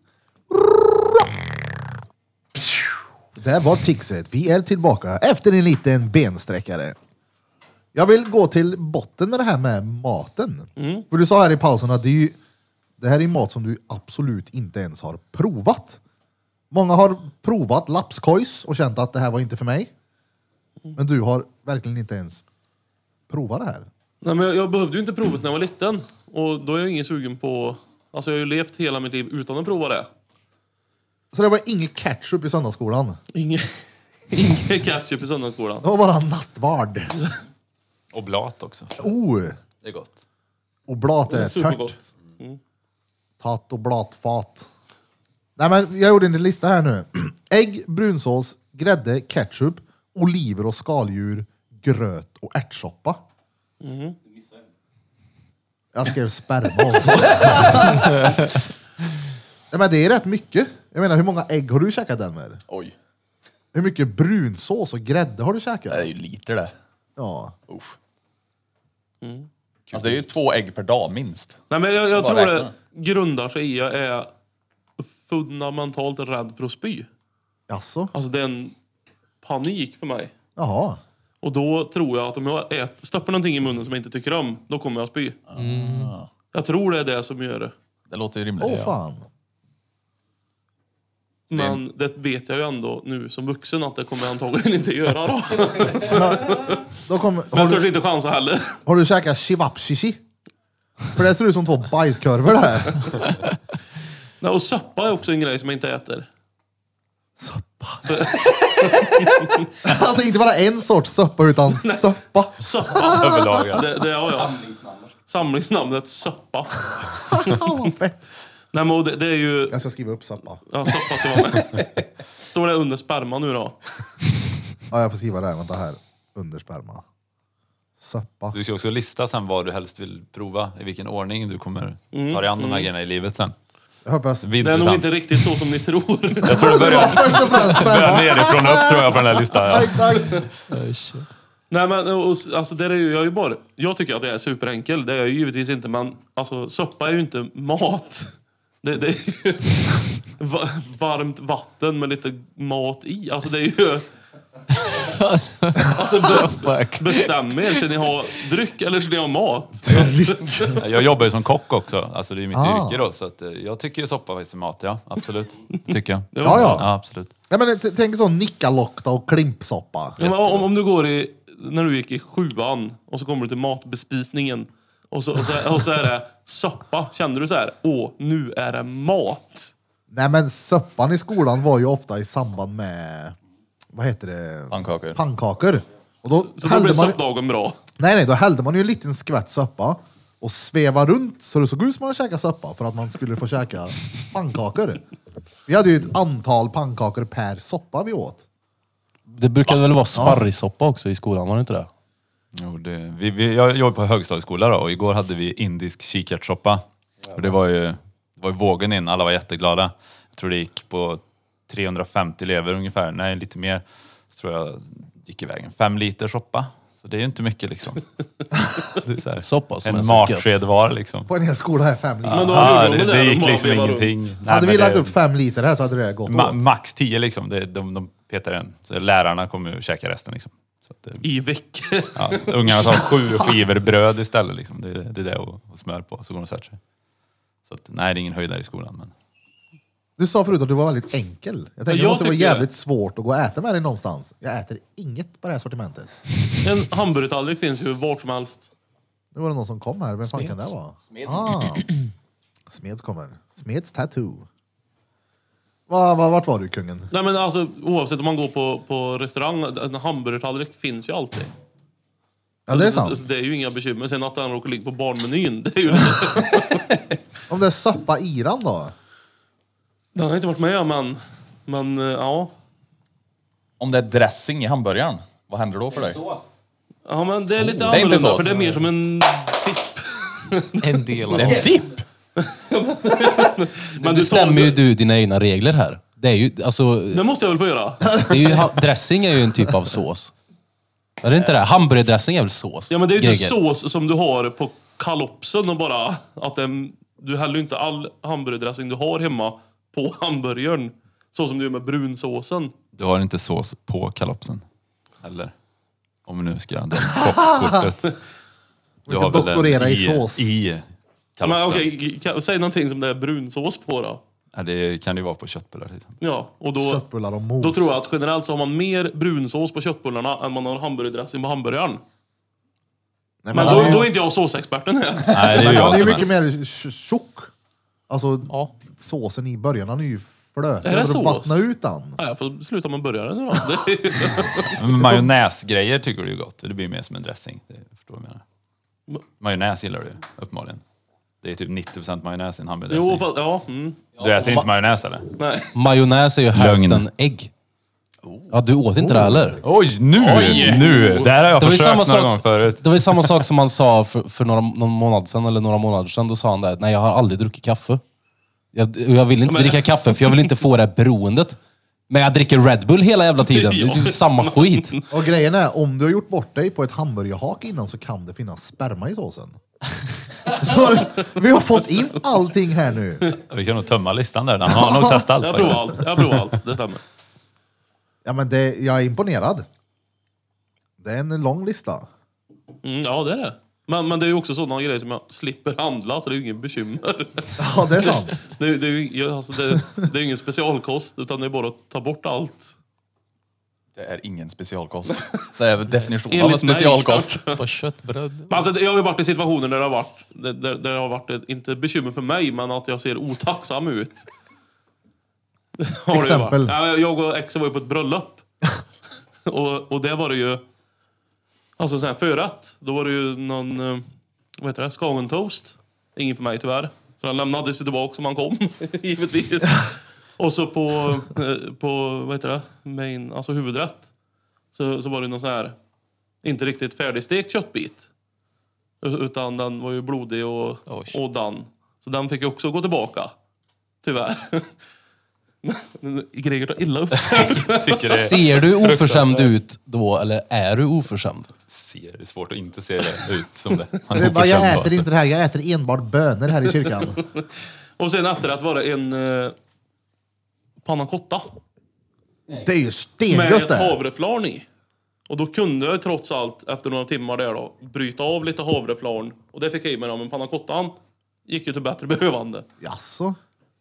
Där var tixet. Vi är tillbaka efter en liten bensträckare. Jag vill gå till botten med det här med maten. För du sa här i pausen att det, är ju, det här är ju mat som du absolut inte ens har provat. Många har provat lapskojs och känt att det här var inte för mig. Men du har verkligen inte ens provat det här.
Nej, men jag, jag behövde ju inte provet när jag var liten. Och då är jag ingen sugen på... Alltså jag har ju levt hela mitt liv utan att prova det.
Så det var ingen ketchup i söndagsskolan.
Ingen, ingen ketchup i söndagsskolan.
Det var bara nattvard.
Oblat också.
Oh!
Det är gott.
Oblat
Det
är
är supergott.
tört. Tatt och blatfat. Nej men jag gjorde en lista här nu. Ägg, brunsås, grädde, ketchup, oliver och skaldjur, gröt och ärtsoppa.
Mm.
Jag skrev sperma också. Nej, men det är rätt mycket. Jag menar hur många ägg har du käkat den med?
Oj,
Hur mycket brunsås och grädde har du käkat?
det är ju liter det.
Ja.
Usch. Alltså det är ju två ägg per dag minst.
Nej, men jag, jag
Bara
tror det
räkna.
grundar sig i att jag är fundamentalt rädd för att spy.
Jaså?
Alltså det är en panik för mig.
Jaha.
Och då tror jag att om jag ät, stoppar någonting i munnen som jag inte tycker om, då kommer jag spy.
Mm.
Jag tror det är det som gör det.
Det låter ju rimligt.
Åh
ja.
fan.
Men det vet jag ju ändå nu som vuxen att det kommer jag antagligen inte göra då.
Då kom,
Men
har
jag
du-
törs inte chansa heller.
Har du käkat shivapshishi? För det ser ut som två bajskorvar det här.
Nej, och soppa är också en grej som jag inte äter.
Soppa. alltså inte bara en sorts soppa utan soppa.
Soppa,
Överlag ja.
det, det har jag.
Samlingsnamnet.
Samlingsnamnet soppa.
Fan vad fett.
Nej, men och det, det är ju...
Jag ska skriva upp soppa.
Ja, soppa ska vara med. Står det under sperma nu då?
Ja, jag får skriva det här. Vänta här. Under sperma. Soppa.
Du ska också lista sen vad du helst vill prova, i vilken ordning du kommer
Mm.
ta dig an de här grejerna i livet sen.
Jag hoppas...
Det blir
Det är nog
intressant.
inte riktigt så som ni tror.
Jag tror det
Det var
börjar,
först och främst
börjar
sperma.
nerifrån och upp tror jag på den här listan.
Ja,
Ja.
exakt.
Aj, shit.
Nej men och, s- alltså det är ju, jag är ju bara, jag tycker att det är superenkel. Det är jag ju givetvis inte men alltså soppa är ju inte mat. Det, det är ju va- varmt vatten med lite mat i. Alltså det är ju,
Alltså,
alltså be,
fuck.
bestäm er, ska ni ha dryck eller ska ni ha mat?
Jag jobbar ju som kock också, alltså det är ju mitt
Ah.
yrke då. Så att, eh, jag tycker ju soppa faktiskt är mat, ja. Absolut. Det tycker jag.
Ja, ja.
ja absolut.
Nej, men t- tänk sån nickalokta och klimpsoppa.
Men om, om du går i, när du gick i sjuan och så kommer du till matbespisningen och så, och så, och så är det soppa. Kände du så här, åh nu är det mat.
Nej, men soppan i skolan var ju ofta i samband med... Vad heter det?
Pannkakor.
Pannkakor. Och då
Så då
hällde
blir
man-
soppdagen bra.
Nej, nej, då hällde man ju en liten skvätt soppa och svevade runt så det såg ut som man hade käkat soppa för att man skulle få käka pannkakor. Vi hade ju ett antal pannkakor per soppa vi åt.
Det brukade väl vara sparrissoppa också i skolan, var det inte det?
Jo, det, vi, vi, jag jobbar på högstadieskola då och igår hade vi indisk kikärtssoppa. Och det var ju, det var ju vågen in, alla var jätteglada. Jag tror det gick på 350 elever ungefär, nej lite mer. Så tror jag gick iväg en fem liter soppa. Så det är ju inte mycket liksom. Det är så här,
Soppa som är
en
så
matsked
gött.
var liksom.
På en hel skola här, fem liter.
Men då
Ja,
gjorde de
det,
där,
det
de
gick
bara
liksom
vevade
ingenting.
runt.
Nej,
hade
men
vi lagt
det-
upp fem liter här så hade det gått
ma-
åt.
Max 10 liksom, det, de, de petar den. Så lärarna kommer ju käka resten liksom. Så att det,
I veckor.
Ja, ungarna tar sju skivor bröd istället. Liksom. Det, det är det och, och smör på, så går de och sätter sig. Så att, nej, det är ingen höjdare i skolan. Men
Du sa förut att du var väldigt enkel. Jag
Ja,
tänkte det
jag
måste vara
tycker det.
jävligt svårt att gå och äta med dig någonstans. Jag äter inget på det här sortimentet.
En hamburgertallrik finns ju vart som helst.
Nu var det någon som kom här. Vem fan kan det
Smeds.
vara? Smeds. Ah. Smeds kommer. Smeds tattoo. Va, va, vart var du kungen?
Nej men alltså oavsett om man går på, på restaurang, en hamburgertallrik finns ju alltid.
Ja, det är
Så,
sant.
så det är ju inga bekymmer. Sen att den råkar ligga på barnmenyn, det är ju...
Om det är soppa i den då?
den har jag inte varit med om men... Men eh, ja.
Om det är dressing i hamburgaren, vad händer då för dig?
Sås.
Ja men det är lite
det är inte
annorlunda
sås.
för det är mer som en dipp.
En del av...
Det är en dipp!
Men
Du bestämmer ju
du.
du dina egna regler här. Det är ju, alltså,
Det måste jag väl få göra?
det är ju, ha- dressing är ju en typ av sås. Är det inte det? Hamburgardressing är väl sås?
Ja men det är ju inte
Greger.
sås som du har på kalopsen och bara att den, du häller ju inte all hamburgerdressing du har hemma på hamburgaren. Så som du gör med brunsåsen.
du har inte sås på kalopsen? Eller? Om vi nu ska dra kockkortet. Du
ska
har väl en
doktorera i sås.
I kalopsen.
Men, okej, g- kan- säg någonting som det är brunsås på då.
ja, det kan det ju vara på köttbullar. liksom. till exempel.
Ja, och då,
Köttbullar och mos.
då tror jag att generellt så har man mer brunsås på köttbullarna än man har hamburgardressing på hamburgaren.
Nej,
Men
han
då,
är ju-
då är inte jag såsexperten här.
Nej, det är
men
ju
han är
jag
ju
som är.
mycket mer tj- tjock. Alltså såsen i början, han är ju flötig.
Är det
Hade du
sås?
vattnat ut den?
Nej, jag får sluta med burgaren nu då. Det är ju-
Men majonnäsgrejer tycker du ju gott. Det blir mer som en dressing. Det förstår jag vad jag menar. Majonnäs gillar du ju uppenbarligen. Det är typ 90% majonnäs i en hamburgardressing.
jo, fast, ja. Mm,
Du äter inte majonnäs eller?
nej.
Majonnäs är ju hälften ägg. Ja, du åt inte det
Oh.
heller?
Oj, nu! Nu! Det här har jag
Det var ju
försökt några
samma sak-
gånger förut.
Det var ju samma sak som han sa för, för några, någon månad sedan, eller några månader sedan. Då sa han där, nej jag har aldrig druckit kaffe. Jag, jag vill inte
Men-
dricka kaffe för jag vill inte få det här beroendet. Men jag dricker Red Bull hela jävla tiden. Det är typ samma skit.
Och grejen är, om du har gjort bort dig på ett hamburgerhak innan så kan det finnas sperma i såsen. så vi har fått in allting här nu.
Vi kan nog tömma listan där. Han har nog testat allt
Jag provar allt.
faktiskt.
Jag provar allt. Det stämmer.
Ja, men det, jag är imponerad. Det är en lång lista.
Mm, ja, det är det. Men, men det är ju också sådana grejer som jag slipper handla, så det är ju ingen bekymmer.
Ja, det är sant.
Det, är- det, är ju- ja, alltså det, det är ju ingen specialkost, utan det är bara att ta bort allt.
Det är ingen specialkost. Det är väl definitionen av en
Enligt mig,
specialkost.
klart.
På köttbröd.
Alltså, det- jag har ju varit i situationer där det har varit, där, där där det har varit, ett- inte bekymmer för mig, men att jag ser otacksam ut. Det har det ju
Exempel.
varit. Ja, Jag och exet var ju på ett bröllop. och, och det var det ju, alltså så här förrätt, då var det ju någon, eh, vad heter det, Skagen toast. Ingen för mig tyvärr. Så den lämnades ju tillbaka som han kom, givetvis. och så på, eh, på, vad heter det, main, alltså huvudrätt. Så, så var det någon sån här, inte riktigt färdigstekt köttbit. U- Utan den var ju blodig och,
Oj.
och dan. Så den fick ju också gå tillbaka. Tyvärr. Men Greger tar illa upp
Tycker det
Ser du oförskämd ut då, eller är du oförskämd?
ser, det är svårt att inte se det ut som det. Han
Det är bara, jag
alltså.
äter inte det här, jag äter enbart bönor här i kyrkan.
Och sen efterrätt var det en eh, panna cotta
Det är ju
med
stengött
ett
det.
havreflarn i. Och då kunde jag ju trots allt efter några timmar där då bryta av lite havreflarn. Och det fick jag i mig då, men panna cottan gick ju till bättre behövande.
Jaså?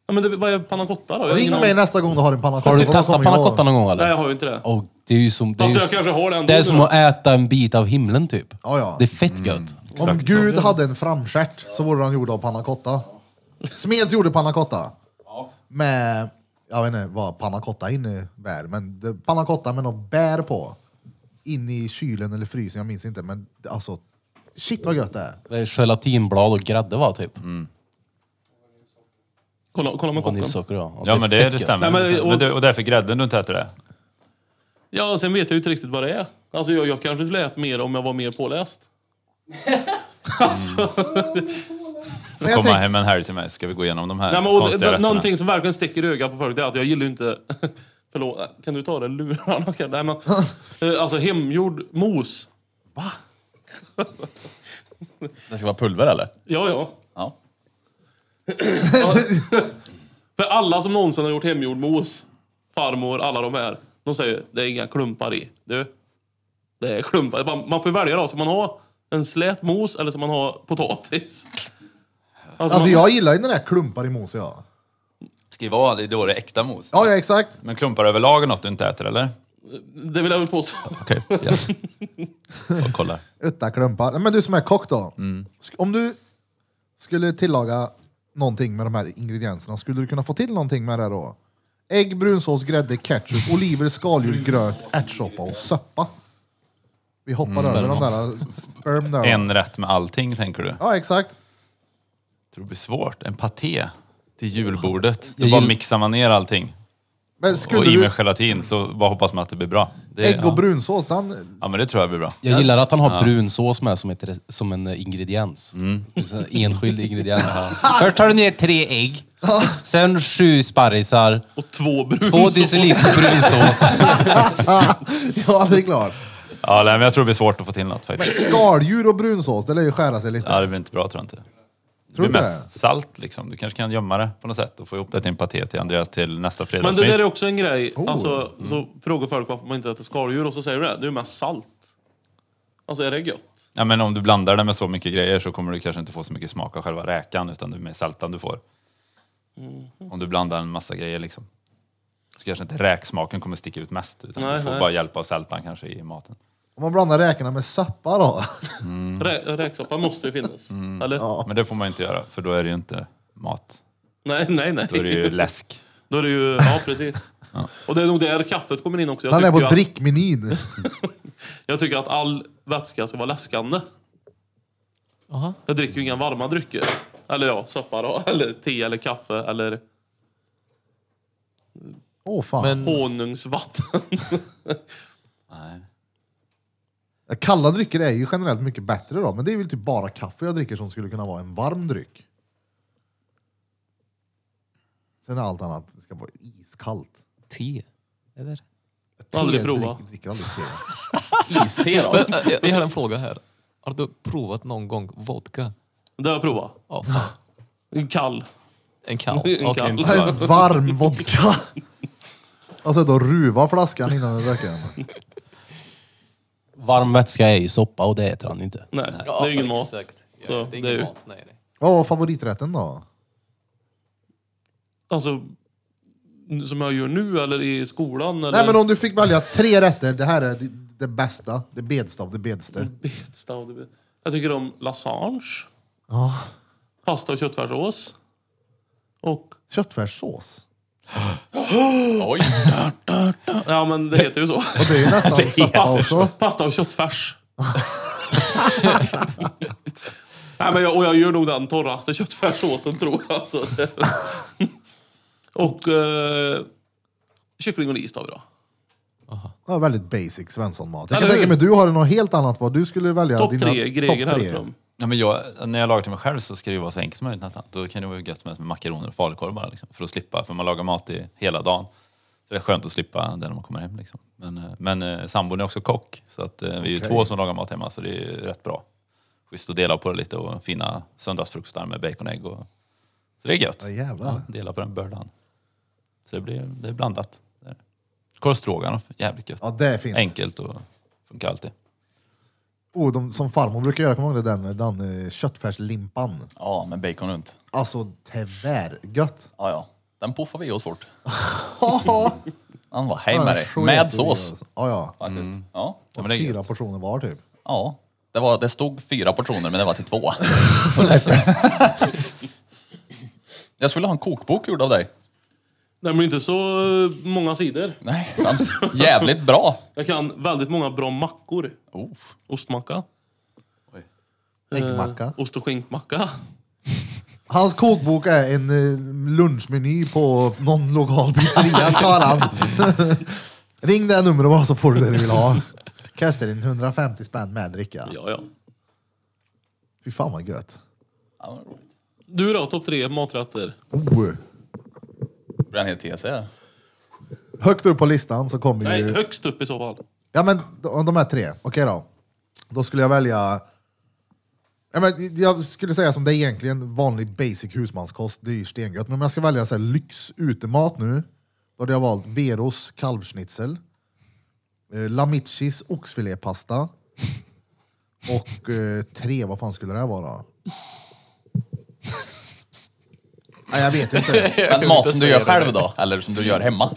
Ja, men det, vad är panna cotta då? Jag har
Ring
ingen
mig
aning.
nästa gång du har en panna cotta.
Har du
Kolla
testat
som jag-
panna cotta någon gång
Nej,
eller?
jag har ju inte det.
Oh, det är ju som, det är
Fast
ju,
jag kanske har det ändå.
det är som
nu.
att äta en bit av himlen typ.
Ja, ja. Mm.
Det är fett gött.
Om Gud hade en framstjärt så vore han gjord av panna cotta. Smeds gjorde panna cotta. Med, jag vet inte vad panna cotta innebär, men det- panna cotta med något bär på. In i kylen eller frysen, jag minns inte. Men alltså, shit vad gött det är.
Det är gelatinblad och grädde va typ?
Mm.
Kolla, kolla med kottan.
Vaniljsocker ja. Och
Ja men det,
fett
det
gött.
stämmer.
Nej, men-
och, men det, och därför grädden du inte äter det.
Ja, sen vet jag ju inte riktigt vad det är. Alltså jag, jag kanske skulle äta mer om jag var mer påläst.
Men jag
Komma
tänk,
hem en helg till mig ska vi gå igenom de här
Nej, men, och,
konstiga
det,
rätterna.
någonting som verkligen sticker i ögat på folk det är att jag gillar ju inte... Förlåt, kan du ta det lurarna? Okej, Nej, men, eh, alltså hemgjord mos.
Det ska vara pulver eller?
Ja, ja.
Ja.
För alla som någonsin har gjort hemgjord mos, farmor, alla de här, de säger det är inga klumpar i. Du, det är klumpar. Man, man får ju välja då, ska man ha en slät mos eller ska man ha potatis? Alltså,
alltså
man,
jag gillar ju den där klumpar i mos ja.
Skriv av, det är då det är äkta mos.
Ja, ja exakt.
Men klumpar överlag är något du inte äter eller?
Det vill jag väl påstå.
Okej, yes. Och kollar.
Utta klumpar. Men du som är kock då.
Mm.
Sk- Om du skulle tillaga någonting med de här ingredienserna, skulle du kunna få till någonting med det då? Ägg, brunsås, grädde, ketchup, oliver, skaldjur, gröt, ärtsoppa och söppa. Vi hoppar
Mm,
över de där eh, sperm där. då.
En rätt med allting tänker du?
Ja, exakt.
tror det blir svårt. En paté till julbordet. Då
Jag
bara
gill-
mixar man ner allting.
Men
Och
skulle
i
du...
med gelatin så bara hoppas man att det blir bra. Det,
Ägg och
ja.
brunsås, den...
ja men det tror jag blir bra.
Jag gillar att han har brunsås med som, ett, re- som en eh, ingrediens. Så En enskild ingrediens. Först tar du ner tre ägg, sen sju sparrisar,
Och två brus.
två deciliter brunsås.
Ja, det är klart.
Ja, nej, men jag tror det blir svårt att få till något faktiskt.
Skaldjur och brunsås, det lär ju skära sig lite.
Ja, det blir inte bra tror jag inte. Det
Tror
blir
du inte
mest salt liksom. Du kanske kan gömma det på något sätt och få ihop det till en paté till Andreas till nästa
Men det där
fredagsmys.
är också en grej. Alltså, så frågar folk varför man inte äter skaldjur och så säger du det. Det är ju mest salt. Alltså är det gött?
Ja, men om du blandar det med så mycket grejer så kommer du kanske inte få så mycket smak av själva räkan utan det är mer sältan du får.
Mm-hmm.
Om du blandar en massa grejer liksom. Så kanske inte räksmaken kommer sticka ut mest utan
Nej,
du får
nej.
bara hjälp av sältan kanske i maten.
Om man blandar räkorna med sappa då?
Mm.
Rä- räksoppa måste ju finnas. Eller?
Ja.
Men det får man inte göra för då är det ju inte mat.
Nej, nej, nej.
Då är det ju läsk.
Då är det ju, ja precis. Och det är nog där kaffet kommer in också. Jag
Den är
tycker,
på
ju att,
drickmenyn.
jag tycker att all vätska ska vara läskande.
Aha.
Jag dricker ju inga varma drycker. Eller ja, soppa då. Eller te eller kaffe eller
Åh fan.
Men
honungsvatten.
Kalla drycker är ju generellt mycket bättre då, men det är väl typ bara kaffe jag dricker som skulle kunna vara en varm dryck. Sen är allt annat, det ska vara iskallt.
te? Eller?
Te
Aldrig
drick-
prova.
dricker aldrig te.
Iste då?
Men, äh, jag, jag har en fråga här. Har du provat någon gång vodka?
Det har jag provat.
Ja, fan.
En Kall.
En kall?
En
Okej.
kall.
Nej, en varm vodka. Alltså då ruva flaskan innan jag dricker den.
Varm vätska är ju soppa och det äter han inte.
Nej, det är ju ingen mat.
exakt. Ja,
Så
det är ingen
ju-
mat, nej. nej.
Vad var favoriträtten då?
Alltså, som jag gör nu eller i skolan eller...
Nej men om du fick välja tre rätter, det här är det, det bästa, det bedsta av det bedste.
Betsta och det- Jag tycker om lasagne.
Ja.
Pasta och köttfärssås. Och...
Köttfärssås.
Oj!
Ja men det heter ju så.
Och det är ju nästan sappa också.
Pasta och köttfärs. Nej, men jag, och jag gör nog den torraste köttfärssåsen tror jag. Så det, och eh, kyckling och ris har vi då.
Ja, väldigt basic svenssonmat. Jag kan
Eller
tänka mig
hur?
du har något helt annat vad du skulle välja.
Topp
dina-
tre grejer
topp tre.
härifrån.
Ja, men jag, när jag lagar till mig själv så ska det ju vara så enkelt som möjligt nästan. Då kan det vara gött med makaroner och falukorv bara liksom, för att slippa, för man lagar mat i hela dagen. Så det är skönt att slippa det när man kommer hem liksom. Men, eh, men eh, sambon är också kock så att eh, vi är ju två som lagar mat hemma så det är ju rätt bra. Schysst att dela på det lite och fina söndagsfrukostar med baconägg och... Så det är gött.
Ja, jävlar.
dela på den bördan. Så det blir det är blandat. Korv stroganoff, jävligt gött.
Ja, det är fint.
Enkelt och funkar alltid.
Oh, de, som farmor brukar göra, kommer du ihåg det? Den, den eh, köttfärslimpan.
Ja, men bacon runt.
Alltså, tvärgött.
Ja, ja. Den puffar vi oss fort. Han var hej med dig.
Sköter
Med
vi
sås.
oss. Ja, ja.
Faktiskt. Ja.
Mm. Ja, men det är
Fyra
gött.
portioner var typ.
ja. Det, var, det stod fyra portioner, men det var till två. jag skulle ha en kokbok gjord av dig.
Den blir inte så eh, många sidor.
Nej, fan. Jävligt bra.
Jag kan väldigt många bra mackor.
Oh.
Ostmacka. Eh.
Äggmacka.
Ost och skinkmacka.
Hans kokbok är en eh, lunchmeny på någon lokal pizzeria, tar han. Ring det här numret bara så får du det du vill ha. Kastar in 150 spänn med dricka.
Ja, ja.
Fy fan vad gött.
Ja, vad roligt.
Du då, topp tre maträtter?
Oh.
Det blir en hel TC här.
Högt upp på listan så kommer
Nej,
ju...
högst upp i så fall.
Ja men de, de här tre, okej då. Då skulle jag välja... Ja, men jag skulle säga som det är egentligen, vanlig basic husmanskost, det är ju stengött. Men om jag ska välja så här, lyx utemat nu, då hade jag valt Veros kalvschnitzel, eh, Lamichis oxfilépasta och eh, tre, vad fan skulle det här vara? Nej, jag vet inte.
Men mat som du gör själv då? Eller som du gör hemma?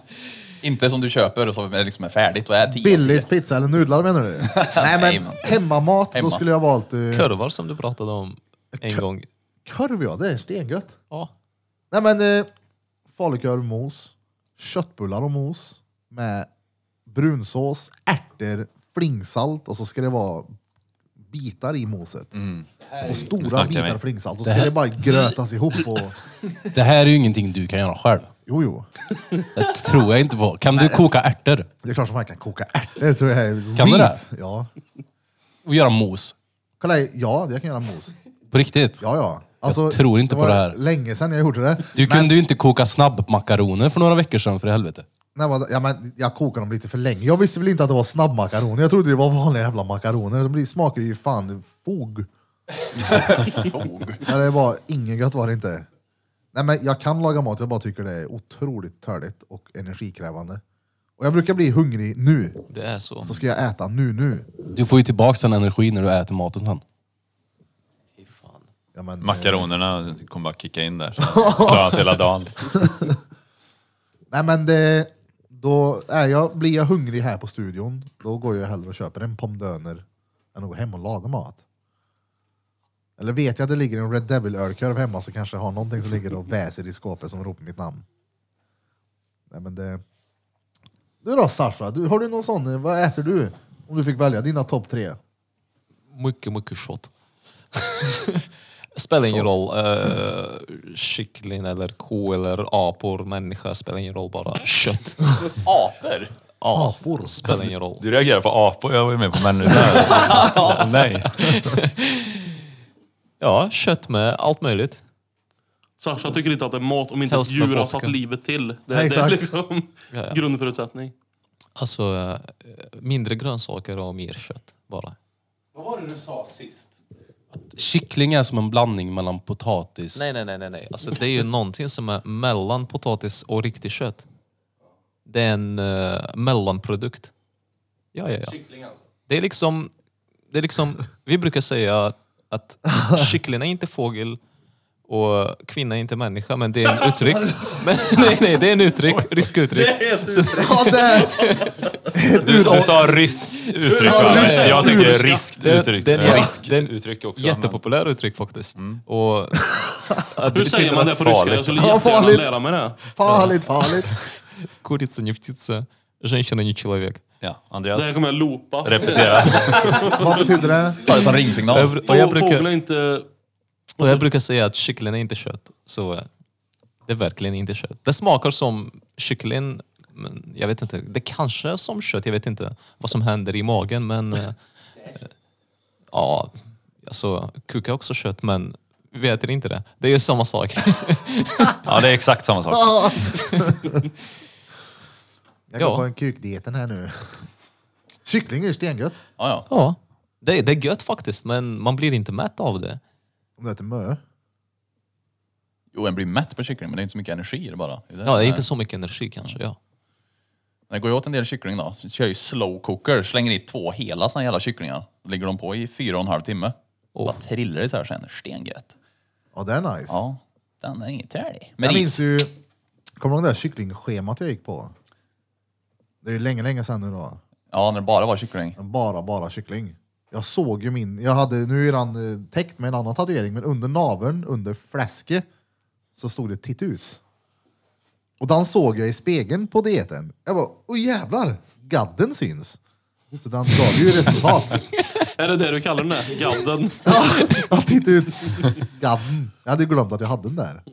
Inte som du köper och som är liksom är färdigt och är tio.
Billys pizza eller nudlar menar du? Nej
Nej,
men
man.
hemmamat, då
Hemma.
skulle jag valt... Eh,
Kurvar som du pratade om en gång.
Korv ja, det är stengött.
Ja.
Nej men, eh, falukorv, mos, köttbullar och mos med brunsås, ärtor, flingsalt och så ska det vara bitar i moset. Och
Nu
stora
snackar
bitar
vi.
flingsalt. Och så ska det bara grötas ihop och...
Det här är ju ingenting du kan göra själv.
Jo, jo.
Det tror jag inte på. Kan du koka ärtor?
Det är klart som man kan koka ärtor. tror jag är
Kan du
skit. Ja.
Och göra mos?
Kolla, här, ja, jag kan göra mos.
På riktigt?
Ja, ja. Alltså,
Jag tror inte
det var
på det här.
länge sedan jag gjorde det.
Du kunde ju inte koka snabbmakaroner för några veckor sedan för i helvete.
Nej, vad- ja, men jag kokade dem lite för länge. Jag visste väl inte att det var snabbmakaroner. Jag trodde det var vanliga jävla makaroner. De blir- smakar ju fan fog.
Fog.
Ja, det var ingen gött var det inte. Nej, men jag kan laga mat, jag bara tycker det är otroligt törligt och energikrävande. Och jag brukar bli hungrig nu.
Det är så.
Så ska jag äta nu, nu.
Du får ju tillbaka den energin när du äter maten sen.
Ja, men, eh,
Makaronerna kommer bara kicka in där. Så klarar sig hela dagen.
Nej men det, då är jag, blir jag hungrig här på studion, då går jag hellre och köper en pomdöner än att gå hem och laga mat. Eller vet jag att det ligger en Red Devil ölkorv hemma så kanske jag har någonting som ligger och väser i skåpet som ropar mitt namn. Nej men det... Du då Sasha, du, har du någon sån, eh, vad äter du? Om du fick välja dina topp tre.
Mycket, mycket kött. spelar ingen roll. eh, kyckling eller ko eller apor, människa, spelar ingen roll. Bara kött.
Apor?
Ja, spelar ingen roll.
Du reagerar på apor, jag var ju med på människor. Nej.
Ja, kött med allt möjligt.
Sasha tycker inte att det är mat om inte ett
Helst med
djur har
vodka.
satt livet till. Det,
Nej,
det är
exakt.
liksom
Ja, ja.
grundförutsättning.
Alltså, eh, mindre grönsaker och mer kött bara.
Vad var det du sa sist?
Kyckling är som en blandning mellan potatis.
Nej, nej, nej, nej, nej. Alltså, det är ju någonting som är mellan potatis och riktigt kött. Det är en eh, mellanprodukt. Ja, ja, ja.
Kyckling alltså.
Det är liksom, det är liksom vi brukar säga att kyckling är inte fågel och kvinna är inte människa, men det är en uttryck. Men, nej, nej, det är en uttryck, rysk uttryck.
Ja, det,
Du, du sa ryskt uttryck va?
Ja, ryskt
Jag tycker
uttryck.
ryskt
Det-
uttryck.
det är en jä-
Ryskt
det är en
uttryck också.
Jättepopulär uttryck faktiskt. Och, att
Hur säger man det på ryska? Jag skulle
Ja,
jättegärna
farligt.
lära mig det.
farligt, farligt.
Курица не птица, женщина не человек.
Ja,
Det här
Andreas,
kommer jag loopa.
repetera.
Vad betyder det?
Ta det som ringsignal.
Och jag,
Fåglar är
brukar,
inte...
och jag brukar säga att kyckling är inte kött. Så eh, det är verkligen inte kött. Det smakar som kyckling, men jag vet inte. Det kanske är som kött, jag vet inte vad som händer i magen. Men eh, eh, ja, alltså kuka är också kött, men vi äter inte det. Det är ju samma sak.
Ja, det är exakt samma sak.
Jag går
Ja.
på en kukdieten här nu. Kyckling är ju stengött.
Ja, ja.
ja, det, är- det är gött faktiskt, men man blir inte mätt av det.
Om du äter mö.
Jo, en blir mätt på kyckling, men det är inte så mycket energi i det bara. Det är
Ja, det är inte så mycket energi kanske. Ja.
När jag går åt en del kyckling då, så kör jag ju slow cooker. Slänger i två hela såna jävla kycklingar. Då ligger de på i fyra och en halv timme. Och bara trillar isär sen. Stengött.
Ja, det är nice.
Ja, den är inget tärlig. Men
Jag
is.
minns ju, kommer du ihåg det där kycklingschemat jag gick på? Det är ju länge, länge sedan nu då.
Ja, när det bara var kyckling.
Men Bara, bara kyckling. Jag såg ju min, jag hade, nu är den eh, täckt med en annan tatuering, men under naveln, under fläsket, så stod det titt ut. Och den såg jag i spegeln på dieten. Jag bara, åh jävlar, gadden syns. Så den gav ju resultat.
Är det det du kallar den där? Gadden?
Ja, titta ut. Gadden. Jag hade ju glömt att jag hade den där.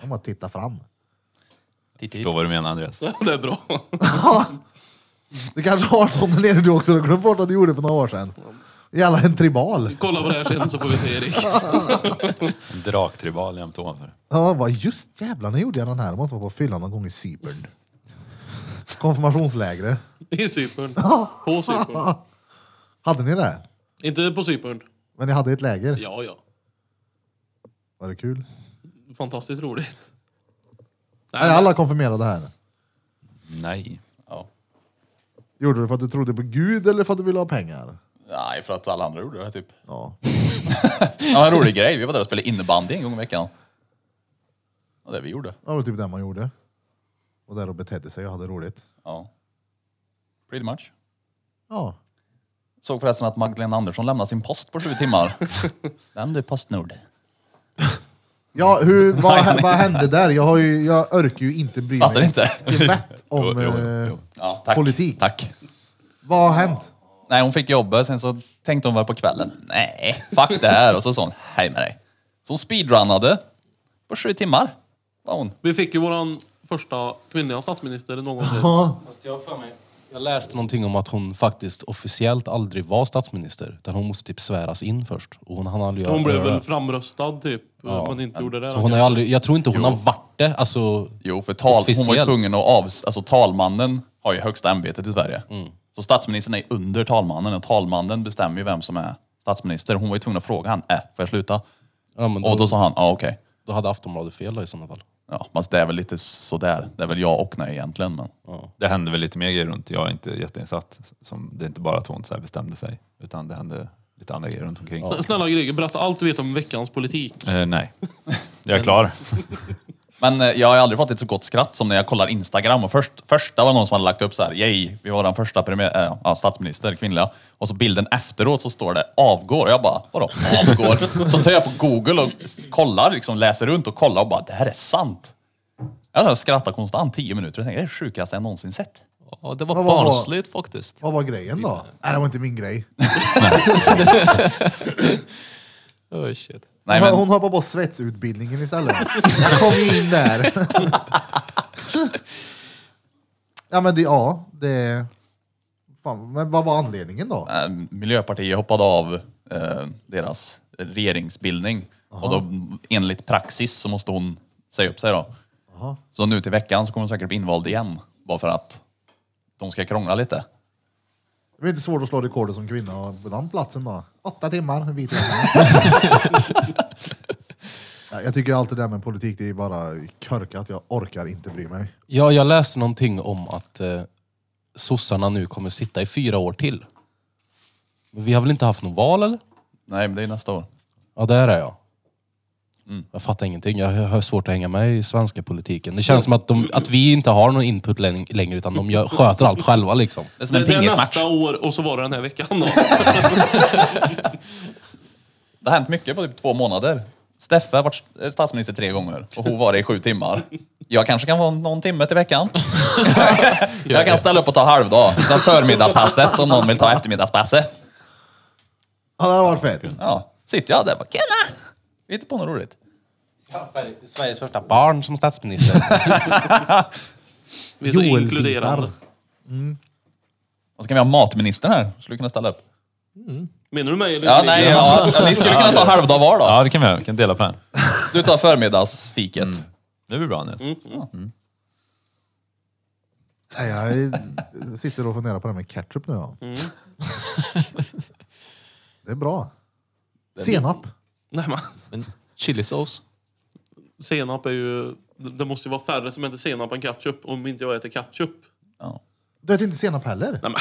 Jag bara titta fram.
Förstår vad du menar Andreas.
Det är bra.
Du kanske har någon där nere du också, du har glömt bort att du gjorde för några år sedan. Jävla en tribal.
Kolla på det här sen så får vi se Erik.
En Draktribal jämt ovanför.
Ja, vad just jävlar, när gjorde jag den här? Det måste vara på fyllan någon gång i Cypern. Konfirmationslägre.
I Cypern. På Cypern.
Hade ni det?
Inte på Cypern.
Men ni hade ett läger?
Ja, ja.
Var det kul?
Fantastiskt roligt.
Är alla konfirmerade här?
Nej.
Ja.
Gjorde du det för att du trodde på Gud eller för att du ville ha pengar?
Nej, för att alla andra gjorde det typ.
Ja.
Ja, en rolig grej. Vi var där och spelade innebandy en gång i veckan. Ja, det vi gjorde.
Det var typ det man gjorde. Och där och betedde sig och hade roligt.
Ja. Pretty much.
Ja.
Såg förresten att Magdalena Andersson lämnade sin post på sju timmar. Vem du Postnord?
Ja, hur, vad, vad hände där? Jag, har ju, jag orkar ju inte bry
Fattar
mig
inte.
ett skvätt om
Jo, jo,
eh,
jo.
Ja, tack.
Politik.
Tack.
vad har hänt.
Nej, hon fick jobbet. Sen så tänkte hon väl på kvällen. Nej, fuck det här. Och så sa hon hej med dig. Så hon speedrunnade på sju timmar. Var hon.
Vi fick ju våran första kvinnliga statsminister någonsin.
Fast jag har för mig...
Jag läste någonting om att hon faktiskt officiellt aldrig var statsminister. Utan hon måste typ sväras in först. Och hon hann aldrig
Hon
göra
blev
det.
väl framröstad typ. men inte gjorde det.
Så hon har ju aldrig, jag tror inte hon har varit det. Alltså,
Jo, för tal, hon var ju
Officiellt.
tvungen att av... Alltså talmannen har ju högsta ämbetet i Sverige.
Mm.
Så statsministern är ju under talmannen och talmannen bestämmer ju vem som är statsminister. Hon var ju tvungen att fråga han, äh, får jag sluta?
ja, men
Mm.
Och
då,
då sa han, ja okej.
då hade Aftonbladet fel då, i sådana fall.
Ja, men det är väl lite sådär. Det är väl jag och nej egentligen. Men
Det hände väl lite mer grejer runt. Jag är inte jätteinsatt. Som, det är inte bara att hon så här bestämde sig. Utan det hände lite andra grejer runt omkring.
S- Snälla Greger, berätta allt du vet om veckans politik.
Eh, nej, jag är klar.
Men eh, jag har aldrig fått ett så gott skratt som när jag kollar Instagram och först, första var någon som hade lagt upp så här, yay, vi har den första premiär, äh, ja, statsminister, kvinnliga. Och så bilden efteråt så står det avgår. Och jag bara, vadå avgår? så tar jag på google och s- kollar, liksom läser runt och kollar och bara, det här är sant. Jag har skrattat konstant 10 minuter och tänker, det är det sjukaste jag någonsin sett.
Ja, det var
Vad var-
barnsligt faktiskt.
Vad var grejen då? Nej, det var inte min grej.
Oh, shit.
Nej,
hon,
men,
hon hoppade på svetsutbildningen istället. Jag kom ju in där. ja, men det, ja, det... Fan, men vad var anledningen då?
eh, Miljöpartiet hoppade av eh, deras regeringsbildning. Och då, enligt praxis så måste hon säga upp sig då. Så nu till veckan så kommer hon säkert bli invald igen. Bara för att de ska krångla lite.
Det är inte svårt att slå rekordet som kvinna på den platsen då. Åtta timmar, vit Ja, Jag tycker alltid det där med politik, det är bara körkat. Jag orkar inte bry mig.
Ja, jag läste någonting om att eh, sossarna nu kommer sitta i fyra år till. Men vi har väl inte haft något val eller?
Nej, men det är nästa år.
Ja, där är jag.
Mm.
Jag fattar ingenting. Jag har svårt att hänga med i svenska politiken. Det känns som att, de, att vi inte har någon input län- längre utan de gör, sköter allt själva liksom.
Det är som
Det,
en
det är
pingismatch.
nästa år och så var det den här veckan då.
Det har hänt mycket på typ två månader. Steffe har varit statsminister tre gånger och hon var det i sju timmar. Jag kanske kan vara någon timme till veckan. Jag kan ställa upp och ta halvdag. Ta förmiddagspasset om någon vill ta eftermiddagspasset.
Ja, det hade varit fett.
Ja, sitter jag där och bara “Tjena!” Hittar på något roligt.
Sveriges första barn som statsminister.
Vi är så
Joel-bitar.
inkluderande.
Och så kan vi ha matministern här. Skulle kunna ställa upp.
Menar du mig eller
Ja,
Greger?
nej, ja, ni skulle kunna ta halvdag var då.
Ja, det kan vi göra. Vi kan dela på den.
Du tar förmiddagsfiket.
Det blir bra Nils.
Nej, jag sitter och funderar på det här med ketchup nu. Ja.
Mm.
Det är bra. Senap.
nej men,
Men chilisås?
senap är ju... Det det måste ju vara färre som äter senap än ketchup om inte jag äter ketchup.
Du äter inte senap heller?
Nej, men,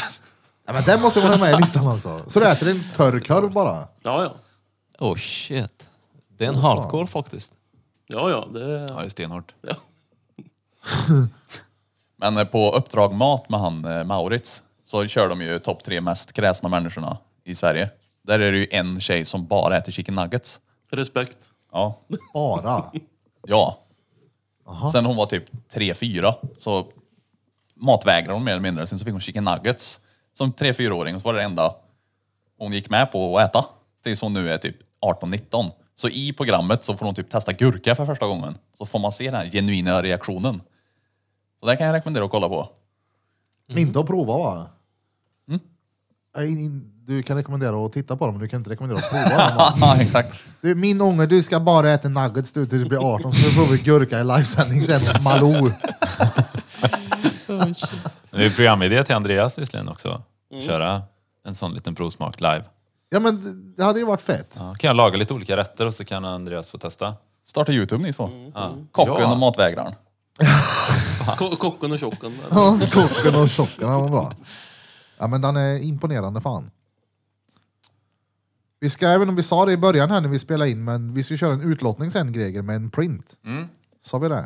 Nej, men den måste vara med i listan alltså. Så du äter en törr korv bara?
ja, ja.
Oh shit. Det är en hardcore faktiskt.
Ja, ja. Det,
Ja, det är stenhårt.
ja.
Men eh, på Uppdrag Mat med han eh, Maurits så kör de ju topp tre mest kräsna människorna i Sverige. Där är det ju en tjej som bara äter chicken nuggets.
Respekt.
Ja.
Bara?
Ja. Sen hon var typ tre fyra så matvägrade hon mer eller mindre. Sen så fick hon chicken nuggets som tre fyraåring och så var det det enda hon gick med på att äta. Tills hon nu är typ 18-19. Så i programmet så får hon typ testa gurka för första gången. Så får man se den här genuina reaktionen. Så det kan jag rekommendera att kolla på.
Inte att prova va? Nej, in- Du kan rekommendera att titta på dem, men du kan inte rekommendera att prova dem. va?
Ja, exakt.
Du, min ånger, du ska bara äta nuggets du tills du blir 18, så får du prova gurka i livesändning sen hos Malou.
Det är programidé till Andreas visserligen också. Köra en sån liten provsmak live.
Ja men det- det hade ju varit fett.
Ja, kan jag laga lite olika rätter och så kan Andreas få testa.
Starta Youtube ni två.
Mm.
Kocken
Ja.
och matvägraren.
Ko- Kocken och tjocken.
Ja, Kocken och tjocken, han var bra. Ja men den är imponerande fan. Vi ska, även om vi sa det i början här när vi spelade in, men vi ska köra en utlottning sen Greger med en print. Sa vi det?